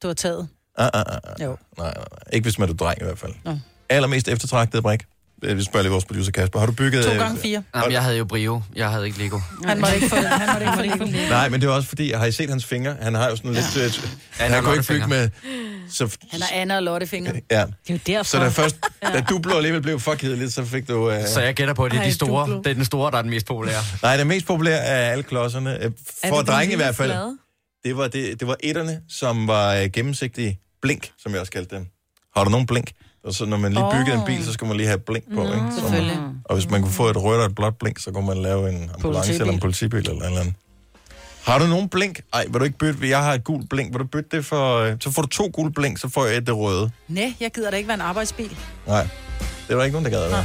Du har taget.
Ah, ah, ah, ah.
Jo.
Nej, nej, nej. Ikke hvis man er dreng i hvert fald.
Nå.
Allermest eftertragtede brik. Øh, Vi spørger lige vores producer Kasper. Har du bygget...
To
øh,
gange fire.
Jamen, jeg havde jo brio. Jeg havde ikke Lego.
Han måtte ikke få det. Han måtte ikke få det.
Nej, men det er også fordi, har I set hans fingre? Han har jo sådan lidt... Ja. han,
har
han kunne ikke bygge
lottefingre.
med... Så,
Han har Anna og Lotte fingre.
ja.
Det er jo derfor.
så da først, da Duplo alligevel blev for kedeligt, så fik du... Uh...
Så jeg gætter på, at det er,
Ej,
de store.
Duplo.
det er den store, der er den mest populære.
Nej, det mest populære af alle klodserne, øh, for drenge i hvert fald,
Flade?
det var, det, det var etterne, som var øh, gennemsigtige blink, som jeg også kaldte dem. Har du nogen blink? Og så når man lige byggede en bil, så skulle man lige have blink på, ikke? Så
Selvfølgelig.
og hvis man kunne få et rødt og et blåt blink, så kunne man lave en ambulance
Politibil.
eller en politibil eller en eller andet. Har du nogen blink? Ej, vil du ikke bytte? Jeg har et gult blink. Vil du bytte det for... øh, Så får du to gule blink, så får jeg et det røde.
Nej, jeg gider da ikke være en arbejdsbil.
Nej, det var ikke nogen, der gad at være.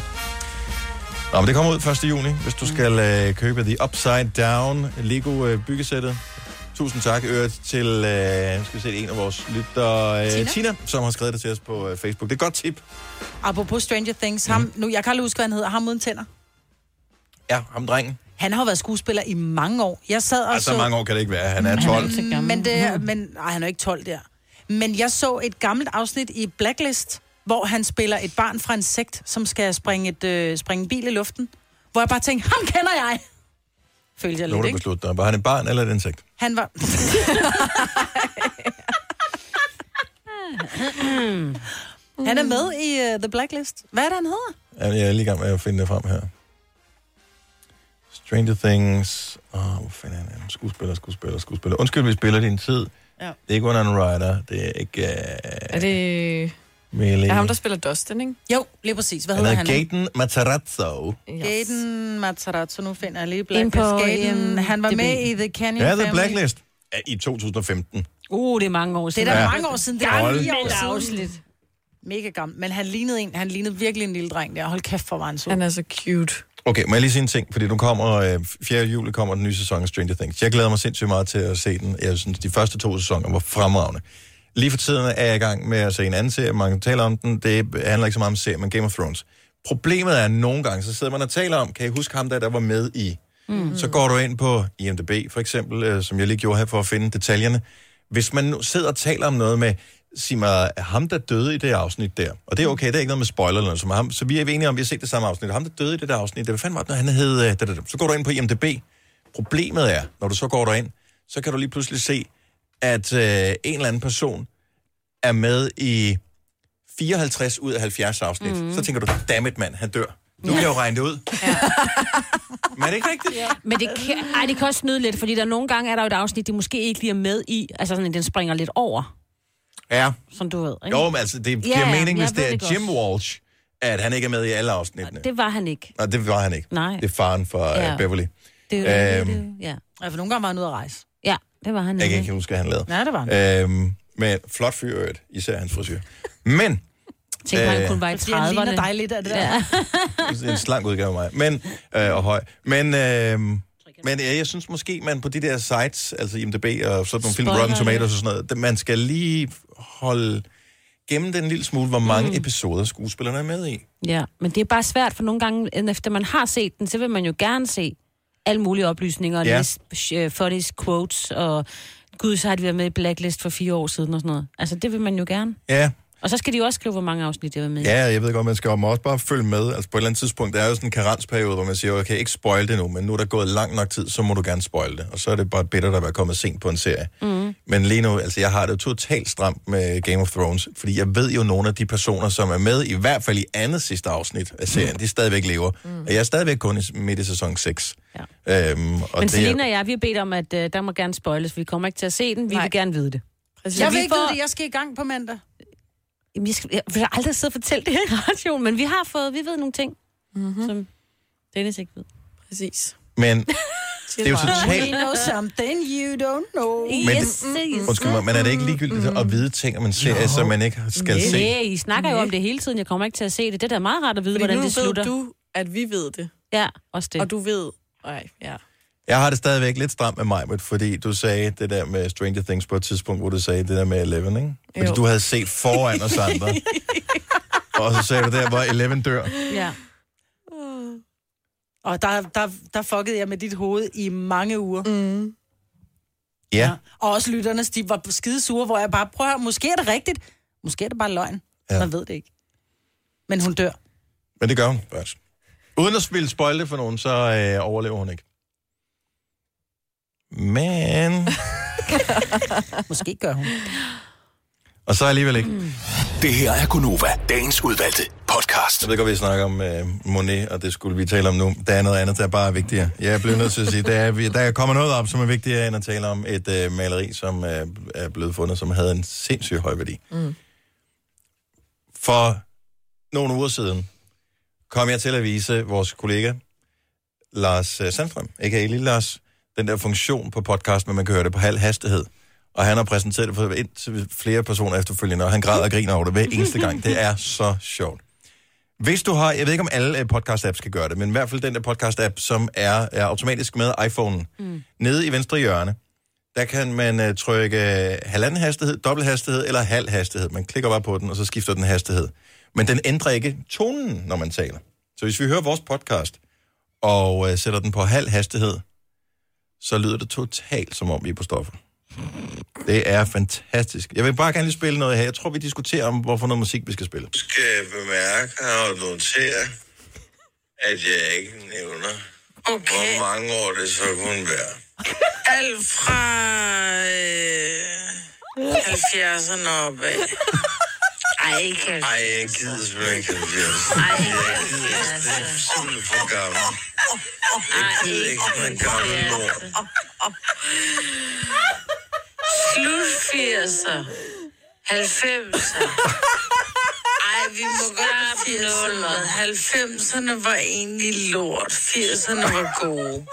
Nå, men det kommer ud 1. juni, hvis du skal øh, købe The Upside Down Lego øh, byggesættet. Tusind tak, øvrigt, til øh, skal vi se, en af vores lyttere, øh, Tina.
Tina.
Tina, som har skrevet det til os på øh, Facebook. Det er et godt tip.
Apropos Stranger Things,
Mm.
ham, nu, jeg kan aldrig huske, hvad han hedder, ham uden tænder.
Ja, ham drengen.
Han har jo været skuespiller i mange år. Jeg sad og
Altså,
så... Mm,
så mange år kan det ikke være. Han er 12.
Men, det, men ej, han er jo ikke 12 der. Men jeg så et gammelt afsnit i Blacklist, hvor han spiller et barn fra en sekt, som skal springe, et, øh, springe en bil i luften. Hvor jeg bare tænkte, ham kender jeg! Følte jeg
Nu er
lidt,
det
ikke?
beslutte dig. Var han et barn eller et insekt?
Han var... han er med i uh, The Blacklist. Hvad er det, han hedder?
Ja, Jeg er lige i gang med at finde det frem her. Stranger Things. Åh, oh, hvor fanden er han? Skuespiller, skuespiller, skuespiller. Undskyld, vi spiller din tid.
Ja.
Det er ikke Winona Ryder. Det er ikke uh,
Er det...
Millie.
Er ham, der spiller Dustin, ikke?
Jo, lige præcis. Hvad
Han hedder Gaten Matarazzo.
Gaten Matarazzo, nu finder jeg lige
Ind på
Blacklist. Gaten, han var
IMDb.
med i The Canyon
Ja, The
Family.
Blacklist. Ja, I 2015.
Uh, det er mange år siden.
Det er da
Ja.
mange år siden. Det er
Hold
ni år
da.
siden. Afsnit. Mega gammel. Men han lignede en. Han lignede virkelig en lille dreng der. Hold kæft, hvor var han sød.
Han er så cute.
Okay, må jeg lige sige en ting, fordi nu kommer, øh, 4. juli kommer den nye sæson af Stranger Things. Jeg glæder mig sindssygt meget til at se den. Jeg synes, de første to sæsoner var fremragende. Lige for tiden er jeg i gang med at se en anden serie, man taler om den. Det handler ikke så meget om serien, men Game of Thrones. Problemet er, at nogle gange, så sidder man og taler om, kan I huske ham der, der var med i? Mm. Så går du ind på IMDB, for eksempel, øh, som jeg lige gjorde her for at finde detaljerne. Hvis man nu sidder og taler om noget med, sig mig, er ham der døde i det afsnit der, og det er okay, det er ikke noget med spoiler eller noget, som ham, så vi er enige om, vi har set det samme afsnit, ham der døde i det der afsnit, det, hvad fanden var det, nu, han hed, øh, da, da, da. så går du ind på IMDB. Problemet er, når du så går derind, så kan du lige pludselig se, at øh, en eller anden person er med i 54 ud af 70 afsnit.
Mhm.
Mm. Så tænker du, dammit mand, han dør. Nu kan jeg jo regne det ud. Men er det ikke rigtigt?
Men det kan, ej, det kan også snyde lidt, fordi der nogle gange er der jo et afsnit, de måske ikke lige er med i. Altså sådan, at den springer lidt over,
Ja.
som du ved. Ikke?
Jo, men altså, det
Ja,
giver
ja,
mening,
jeg
hvis
ved
det er
det godt.
Jim Walsh, at han ikke er med i alle afsnittene.
Det var han ikke.
Nej, det var han ikke.
Nej.
Det er faren fra
Ja.
ja. Beverly.
Det,
Øhm.
øhm. det, ja.
Ja, for Altså, nogle gange var han ude at rejse.
ja, det var han
Jeg kan
nemlig.
ikke huske, hvad han lavede.
Ja, det var han.
Øhm, men flot fyr, i øvrigt. især hans frisyr. Men...
Tænk mig, han kun var i
Fordi han
30'erne.
ligner dig lidt af det der.
Ja.
øh, en slank udgave af mig. Men, øh, og høj. Men, øh, men øh, jeg synes måske, man på de der sites, altså IMDb og sådan nogle film,
Spoiler
Rotten Tomatoes og
alert.
sådan noget, det- man skal lige holde gennem den en lille smule, hvor mange mm. episoder skuespillerne er med i.
Ja, men det er bare svært, for nogle gange, end efter man har set den, så vil man jo gerne se alle mulige oplysninger, og
Ja.
ja. læse øh, funnies quotes, og gud, så har de været med i Blacklist for fire år siden og sådan noget. Altså, det vil man jo gerne.
Ja,
Og så skal de jo også skrive, hvor mange afsnit de har været med i.
Ja, jeg ved godt, man skal jo også bare følge med. Altså på et eller andet tidspunkt, der er jo sådan en karensperiode, hvor man siger, okay, ikke spoil det nu, men nu er der gået lang nok tid, så må du gerne spoil det. Og så er det bare bittert at være kommet sent på en serie. Mm. Men lige nu, altså jeg har det jo totalt stramt med Game of Thrones, fordi jeg ved jo nogle af de personer, som er med, i hvert fald i andet sidste afsnit af serien, mm. de stadigvæk lever. Mm. Og jeg er stadigvæk kun i- midt i sæson 6. Ja. Øhm, og
Og men
det er,
Selina og jeg, vi har bedt om, at øh, der må gerne spoiles, for vi kommer ikke til at se den. Vi Nej. vil gerne vide det.
Præcis. Jeg vil ikke vide det. Jeg skal i gang på mandag.
Jamen, jeg, skal, jeg vil aldrig sidde og fortælle det her i radioen, men vi har fået, vi ved nogle ting, mm-hmm. som Dennis ikke ved.
Præcis.
men det er jo totalt...
You know something you don't know.
Men, det, undskyld mig, men er det ikke ligegyldigt at vide ting om en serie, som man ikke skal se?
Nej, I snakker jo om det hele tiden. Jeg kommer ikke til at se det. Det er da meget rart at vide,
Fordi
hvordan
nu
det
ved
slutter.
du, at vi ved det.
Ja, også det.
Og du ved... Nej, ja.
Jeg har det stadigvæk lidt stramt med mig, fordi du sagde det der med Stranger Things på et tidspunkt, hvor du sagde det der med Eleven, ikke? Fordi
Jo.
du havde set foran os andre. og så sagde du der, hvor Eleven dør.
Ja.
Og der, der, der fuckede jeg med dit hoved i mange uger. Mm.
Ja.
Og også lytternes, de var skide sure, hvor jeg bare prøver, måske er det rigtigt, måske er det bare løgn. Ja. Man ved det ikke. Men hun dør.
Men det gør hun først. Uden at spille spoil det for nogen, så øh, overlever hun ikke. Men...
måske gør hun.
Og så alligevel ikke. Mm.
Det her er Gunova, dagens udvalgte podcast.
Jeg ved godt, vi snakker om øh, Monet, og det skulle vi tale om nu. Der er noget andet, der bare er vigtigere. Jeg blev nødt til at sige, der, er, vi- der kommer noget op, som er vigtigere end at tale om et øh, maleri, som øh, er blevet fundet, som havde en sindssygt høj værdi.
Mm.
For nogle uger siden kom jeg til at vise vores kollega, Lars øh, Sandstrøm, a.k.a. Lille Lars, den der funktion på podcasten, hvor man kan høre det på halv hastighed. Og han har præsenteret det for indtil flere personer efterfølgende, og han græder og griner over det hver eneste gang. Det er så sjovt. Hvis du har, jeg ved ikke om alle øh, podcast-apps kan gøre det, men i hvert fald den der podcast-app, som er, er automatisk med iPhone'en. Mm. Nede i venstre hjørne, der kan man øh, trykke øh, halvanden hastighed, dobbelt hastighed eller halv hastighed. Man klikker bare på den, og så skifter den hastighed. Men den ændrer ikke tonen, når man taler. Så hvis vi hører vores podcast, og øh, sætter den på halv hastighed, så lyder det totalt, som om vi er på stoffer. Det er fantastisk. Jeg vil bare gerne lige spille noget her. Jeg tror, vi diskuterer om, hvorfor noget musik, vi skal spille.
skal bemærke og notere, at jeg ikke nævner, okay. hvor mange år det så kunne være.
Alt fra øh, 70'erne op af. Ej, ikke alt.
Ej, jeg gider simpelthen ikke 70. Jeg gider det er simpelthen for gammel. Jeg gider ikke den gamle lort.
Slut 80'er. 90'er. Ej, vi må godt have nullet. 90'erne var egentlig lort. 80'erne var gode.
Nej,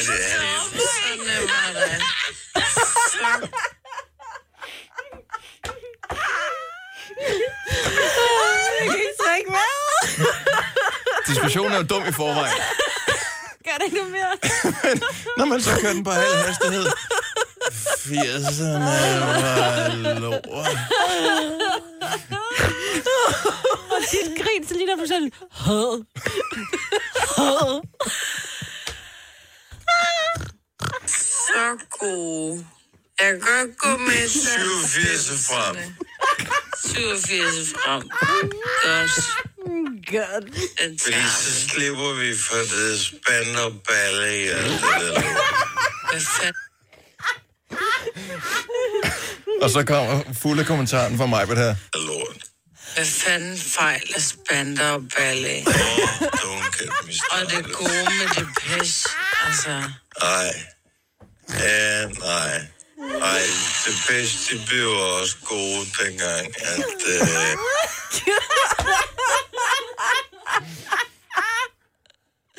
det er det.
Sådan var det. Så
Jeg kan ikke trække vejret.
Diskussionen er jo dum i forvejen.
Gør det ikke mere.
Når man så kører den på halv hastighed. 80'erne var lort.
Og dit grin, så ligner du sådan... Hød. Hød.
Så god. Jeg kan godt gå med til
87 og frem.
87 frem. Godt. Godt.
Fordi så slipper vi for det spand og balle i alt det der lort.
Hvad fanden?
Og så kommer fulde kommentaren fra mig på det her.
Lort.
Hvad fanden fejler spander og ballet? og det gode med det pis, altså.
Ej. Ja, nej. Ej, det bedste de blev også gode dengang, at... Øh,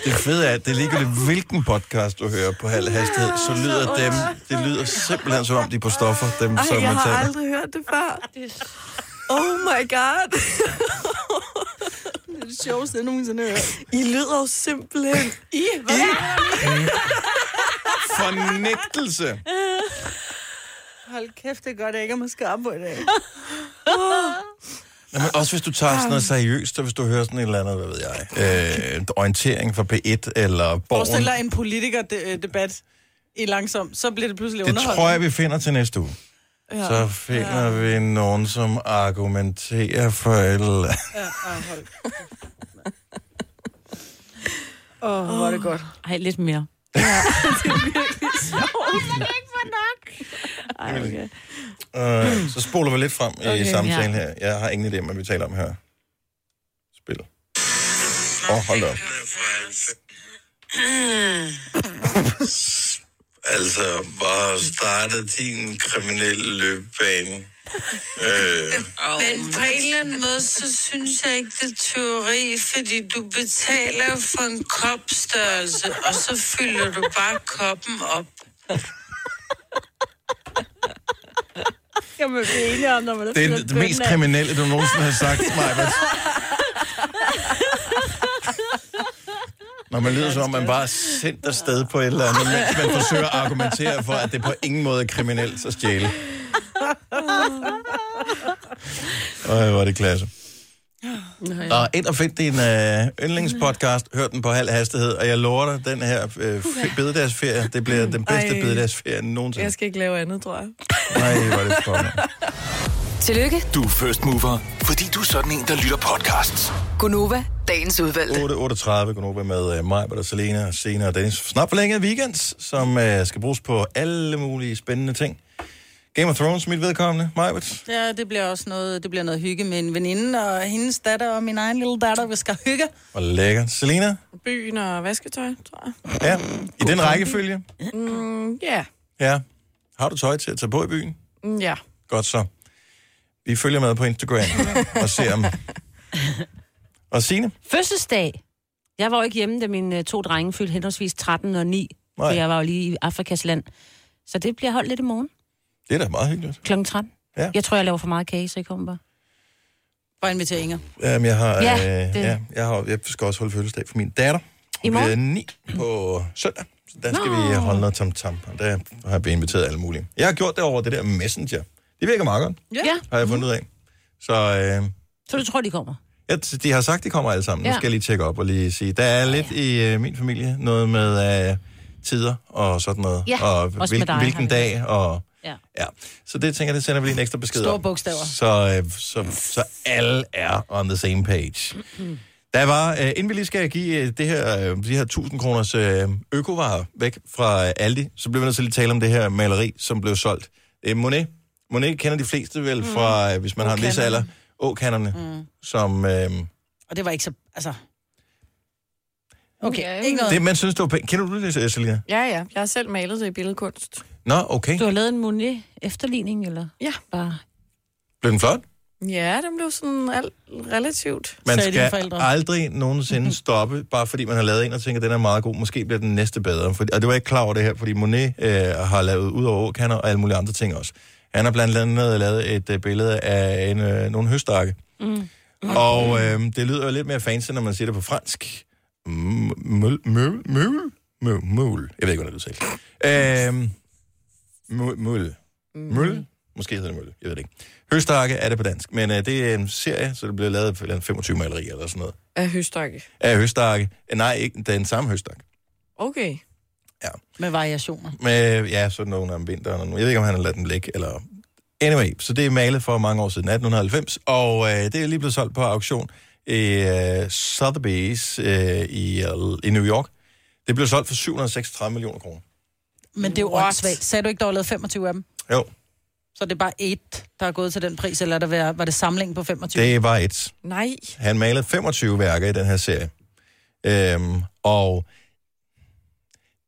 Det fede er, at det er ligegyldigt, hvilken podcast du hører på halv hastighed, så lyder dem, det lyder simpelthen som om de er på stoffer, dem
Ej,
som
jeg
man
har
taler.
aldrig hørt det før. Oh my god. det er det sjoveste, jeg nogensinde har hørt. I lyder jo simpelthen... I? Hvad?
Fornægtelse.
Hold kæft, det er godt, jeg ikke er med skarp på i dag.
Jamen, også hvis du tager sådan noget seriøst, og hvis du hører sådan et eller andet, hvad ved jeg, øh, orientering fra P1 eller
Forestil
Borgen.
dig en politikerdebat i langsom, så bliver det pludselig
Det
underholdt.
tror jeg, vi finder til næste uge. Så finder vi nogen, som argumenterer for et eller andet.
Ja, ja, hold. Åh, oh, hvor er det godt.
Ej, lidt mere. Ej, okay.
Øh, så spoler vi lidt frem okay, i
Okay,
samtalen
ja.
her. Jeg har ingen idé om, hvad vi taler om her. Spil. Åh, oh, hold da op.
altså, bare startede din kriminelle løbebane. Øh,
Men på en eller anden måde, så synes jeg ikke, det er teori, fordi du betaler jo for en kopstørrelse, og så fylder du bare koppen op.
Jeg må blive enige om, når man
Det er det mest kriminelle, du nogensinde har sagt, Maja. Når man lyder som om, man bare er sendt afsted på et eller andet, mens man forsøger at argumentere for, at det på ingen måde er kriminelt at stjæle. Øj, hvor er det klasse. Og ind og find din øh, yndlingspodcast, hør den på halv hastighed, og jeg lover dig, den her øh, fe- bededagsferie, det bliver den bedste
Ej.
bededagsferie nogensinde.
Jeg skal ikke lave andet, tror jeg.
Nej, hvor er det for mig.
Tillykke,
Du er first mover, fordi du er sådan en, der lytter podcasts.
Gunova, dagens udvalgte.
8.38, Gunova med øh, mig, Britta, Selena, Sena og Dennis. Snart forlænget weekend, som øh, skal bruges på alle mulige spændende ting. Game of Thrones, mit vedkommende, Majbert.
Ja, det bliver også noget, det bliver noget hygge med en veninde og hendes datter og min egen lille datter, vi skal hygge.
Og lækker. Selena,
Byen og vasketøj, tror jeg.
ja, i den rækkefølge.
Mm, ja.
Ja. Har du tøj til at tage på i byen?
Mm, Ja.
Godt så. Vi følger med på Instagram og ser om... Og Signe,
Fødselsdag. Jeg var jo ikke hjemme, da mine øh, to drenge fyldte henholdsvis 13 og 9. Nej. For jeg var jo lige i Afrikas land. Så det bliver holdt lidt i morgen.
det er da meget hyggeligt.
Klokken 13.
Ja.
Jeg tror, jeg laver for meget kage, så jeg kommer bare.
Bare inviterer Inger.
Jamen, jeg har,
Ja,
øh,
det-
ja, jeg, har, jeg skal også holde fødselsdag for min datter.
I
Hun
morgen?
bliver 9 på søndag. Så der skal
Nå.
vi holde noget tam-tam, og der har vi inviteret alle mulige. Jeg har gjort det over det der Messenger. Det virker meget godt,
Ja. ja.
har jeg fundet ud af. Så øh,
Så du tror, de kommer?
ja, t- de har sagt, de kommer alle sammen. Ja.
Ja.
Nu skal jeg lige tjekke op og lige sige, der er lidt i øh, min familie noget med, øh, tider og sådan noget.
Ja,
og
også med
hvil,
dig, har
hvilken
vi
dag. Og,
Ja.
ja. Så det tænker jeg, det sender vi lige en ekstra besked
Store
om.
bogstaver.
Så, øh, så, så alle er on the same page. Der var, øh, inden vi lige skal give øh, det her, øh, de her 1000 kroners øh, økovarer væk fra øh, Aldi, så blev vi nødt til at lige tale om det her maleri, som blev solgt. Det er Monet. Monet kender de fleste vel fra, øh, hvis man har en vis
Åkanderne.
alder, åkanderne, mm. som... Øh,
Og det var ikke så... Altså... Okay,
Ja,
ikke noget.
det, man synes, det var pænt. Kender du det, øh, Selina?
Ja, ja. Jeg har selv malet det i billedkunst.
Nå, okay.
Du har lavet en Monet efterligning, eller?
Ja.
Bare.
Blev den flot?
Ja, den blev sådan alt relativt.
Man
sagde dine
skal aldrig nogensinde stoppe, bare fordi man har lavet en og tænker, den er meget god, måske bliver den næste bedre. For, og det var jeg ikke klar over det her, fordi Monet øh, har lavet ud over åkander og alle mulige andre ting også. Han har blandt andet lavet et øh, billede af en, øh, nogle høstakke.
Mm.
Og øh, det lyder jo lidt mere fancy, når man siger det på fransk. M- Møl? Møl? Møl? Møl? Møl? Jeg ved ikke, hvordan det lyder selv. Øh, møl- Møl? Møl? Måske hedder det møl, jeg ved det ikke. Høstakke er det på dansk, men øh, det er en serie, så det bliver lavet på 25 malerier eller sådan noget.
Af høstakke.
Af høstakke. Eh, Nej, ikke den samme høstakke.
Okay.
Ja.
Med variationer.
Men øh, ja, sådan nogen om vinteren. og nu- Jeg ved ikke, om han har ladet den ligge, eller... Anyway, så det er malet for mange år siden, 1890, og øh, det er lige blevet solgt på auktion i øh, Sotheby's øh, i, øh, i New York. Det blev solgt for 736 millioner kroner.
Men det er jo åndssvagt. Sagde du ikke, der var lavet 25 af dem?
Jo,
Så det er bare et, der er gået til den pris, eller er der var, var det samling på 25?
det var et.
Nej.
Han malede 25 værker i den her serie. Øhm, og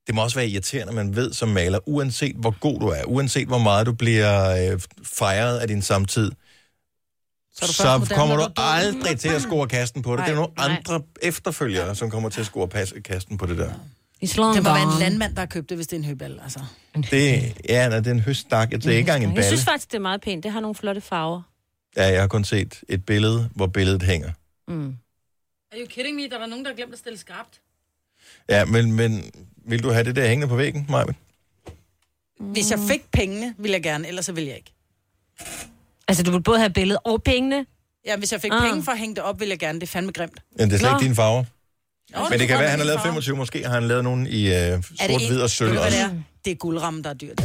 det må også være irriterende, at man ved som maler, uanset hvor god du er, uanset hvor meget du bliver øh, fejret af din samtid,
er du
så,
først
så
moderne,
kommer
når
du
du er død.
aldrig til at score kasten på det.
Nej,
det er nogle
nej.
andre efterfølgere, som kommer til at score pas- kasten på det der.
Det må være en landmand, der har købt det, hvis det er en høbal, altså.
Det, ja, nej, det er en høststak. Det er ikke engang en
Jeg
balle.
synes faktisk, det er meget pænt. Det har nogle flotte farver.
Ja, jeg har kun set et billede, hvor billedet hænger.
Mm.
Are you kidding me? Der var nogen, der glemte at stille skarpt.
Ja, men, men vil du have det der hængende på væggen, Maja?
Hvis jeg fik pengene, ville jeg gerne, ellers så ville jeg ikke.
Altså, du vil både have billedet og pengene?
Ja, hvis jeg fik
Ah.
penge for at hænge det op, ville jeg gerne. Det er fandme grimt.
Ja, det er slet
Nå.
ikke dine farver.
Nå,
Men det kan
er
være, at han har
min
lavet
farve.
25, måske har han lavet nogen i øh,
det
sort,
en-
hvid og
Ved
sølv
du, hvad
også.
det
Det er guldrammen, der er dyrt.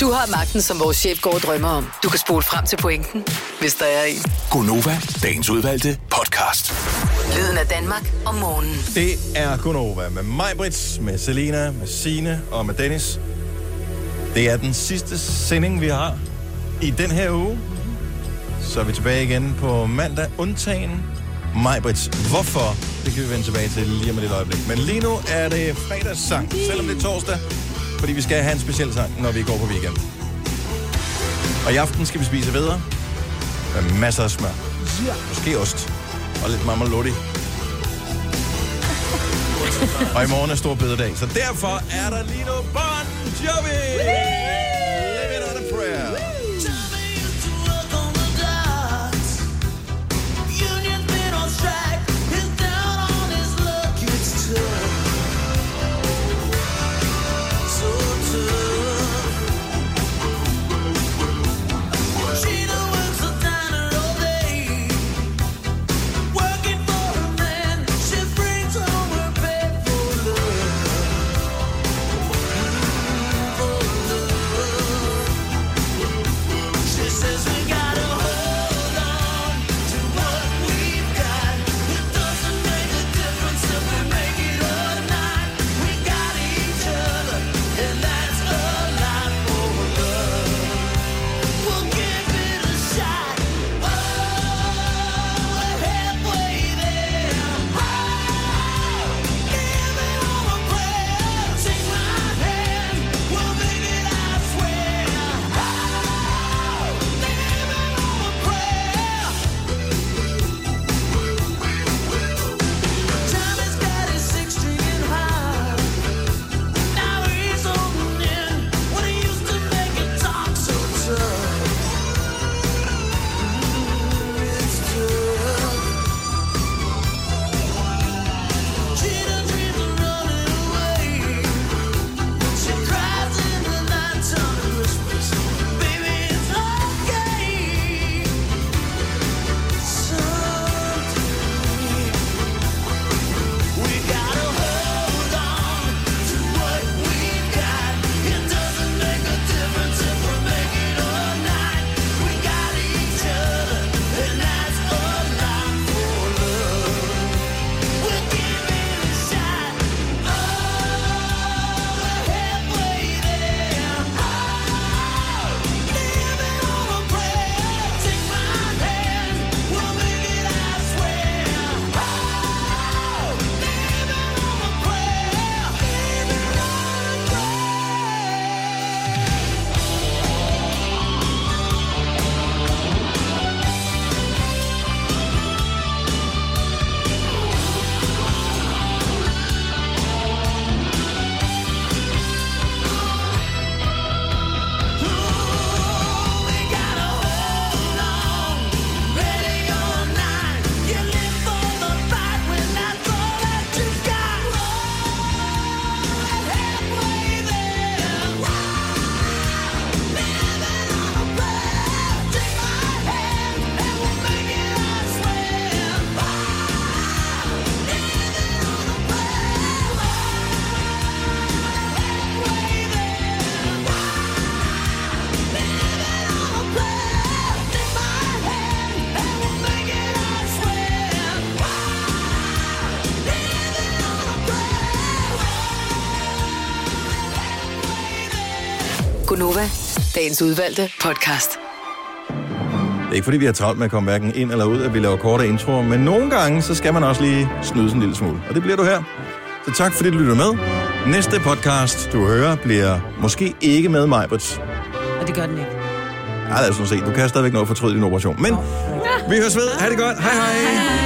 Du har magten, som vores chef går og drømmer om. Du kan spole frem til pointen, hvis der er en.
Gonova, dagens udvalgte podcast.
Lyden af Danmark om morgenen.
Det er Gunova med Majbrits, med Selina, med Sine og med Dennis. Det er den sidste sending, vi har i den her uge. Så er vi tilbage igen på mandag, undtagen Majbrits. Hvorfor? Det kan vi vende tilbage til lige om et lille øjeblik. Men lige nu er det fredagssang, selvom det er torsdag. Fordi vi skal have en speciel sang, når vi går på weekend. Og i aften skal vi spise videre. Med masser af smør.
Ja.
Måske ost. Og lidt marmalodi. Og i morgen er stor bededag, så derfor er der lige nu Bon Jovi! Live it on a prayer.
Love.
Gunova, dagens udvalgte podcast.
Det er ikke fordi, vi har travlt med at komme hverken ind eller ud, at vi laver korte introer, men nogle gange, så skal man også lige snydes en lille smule. Og det bliver du her. Så tak fordi du lytter med. Næste podcast, du hører, bliver måske ikke med mig, Brits.
Og det gør den ikke.
Nej, lad os nu se. Du kan stadigvæk nå at fortryde din operation. Men vi høres ved. Ha' det godt. Hej hej. hej, hej.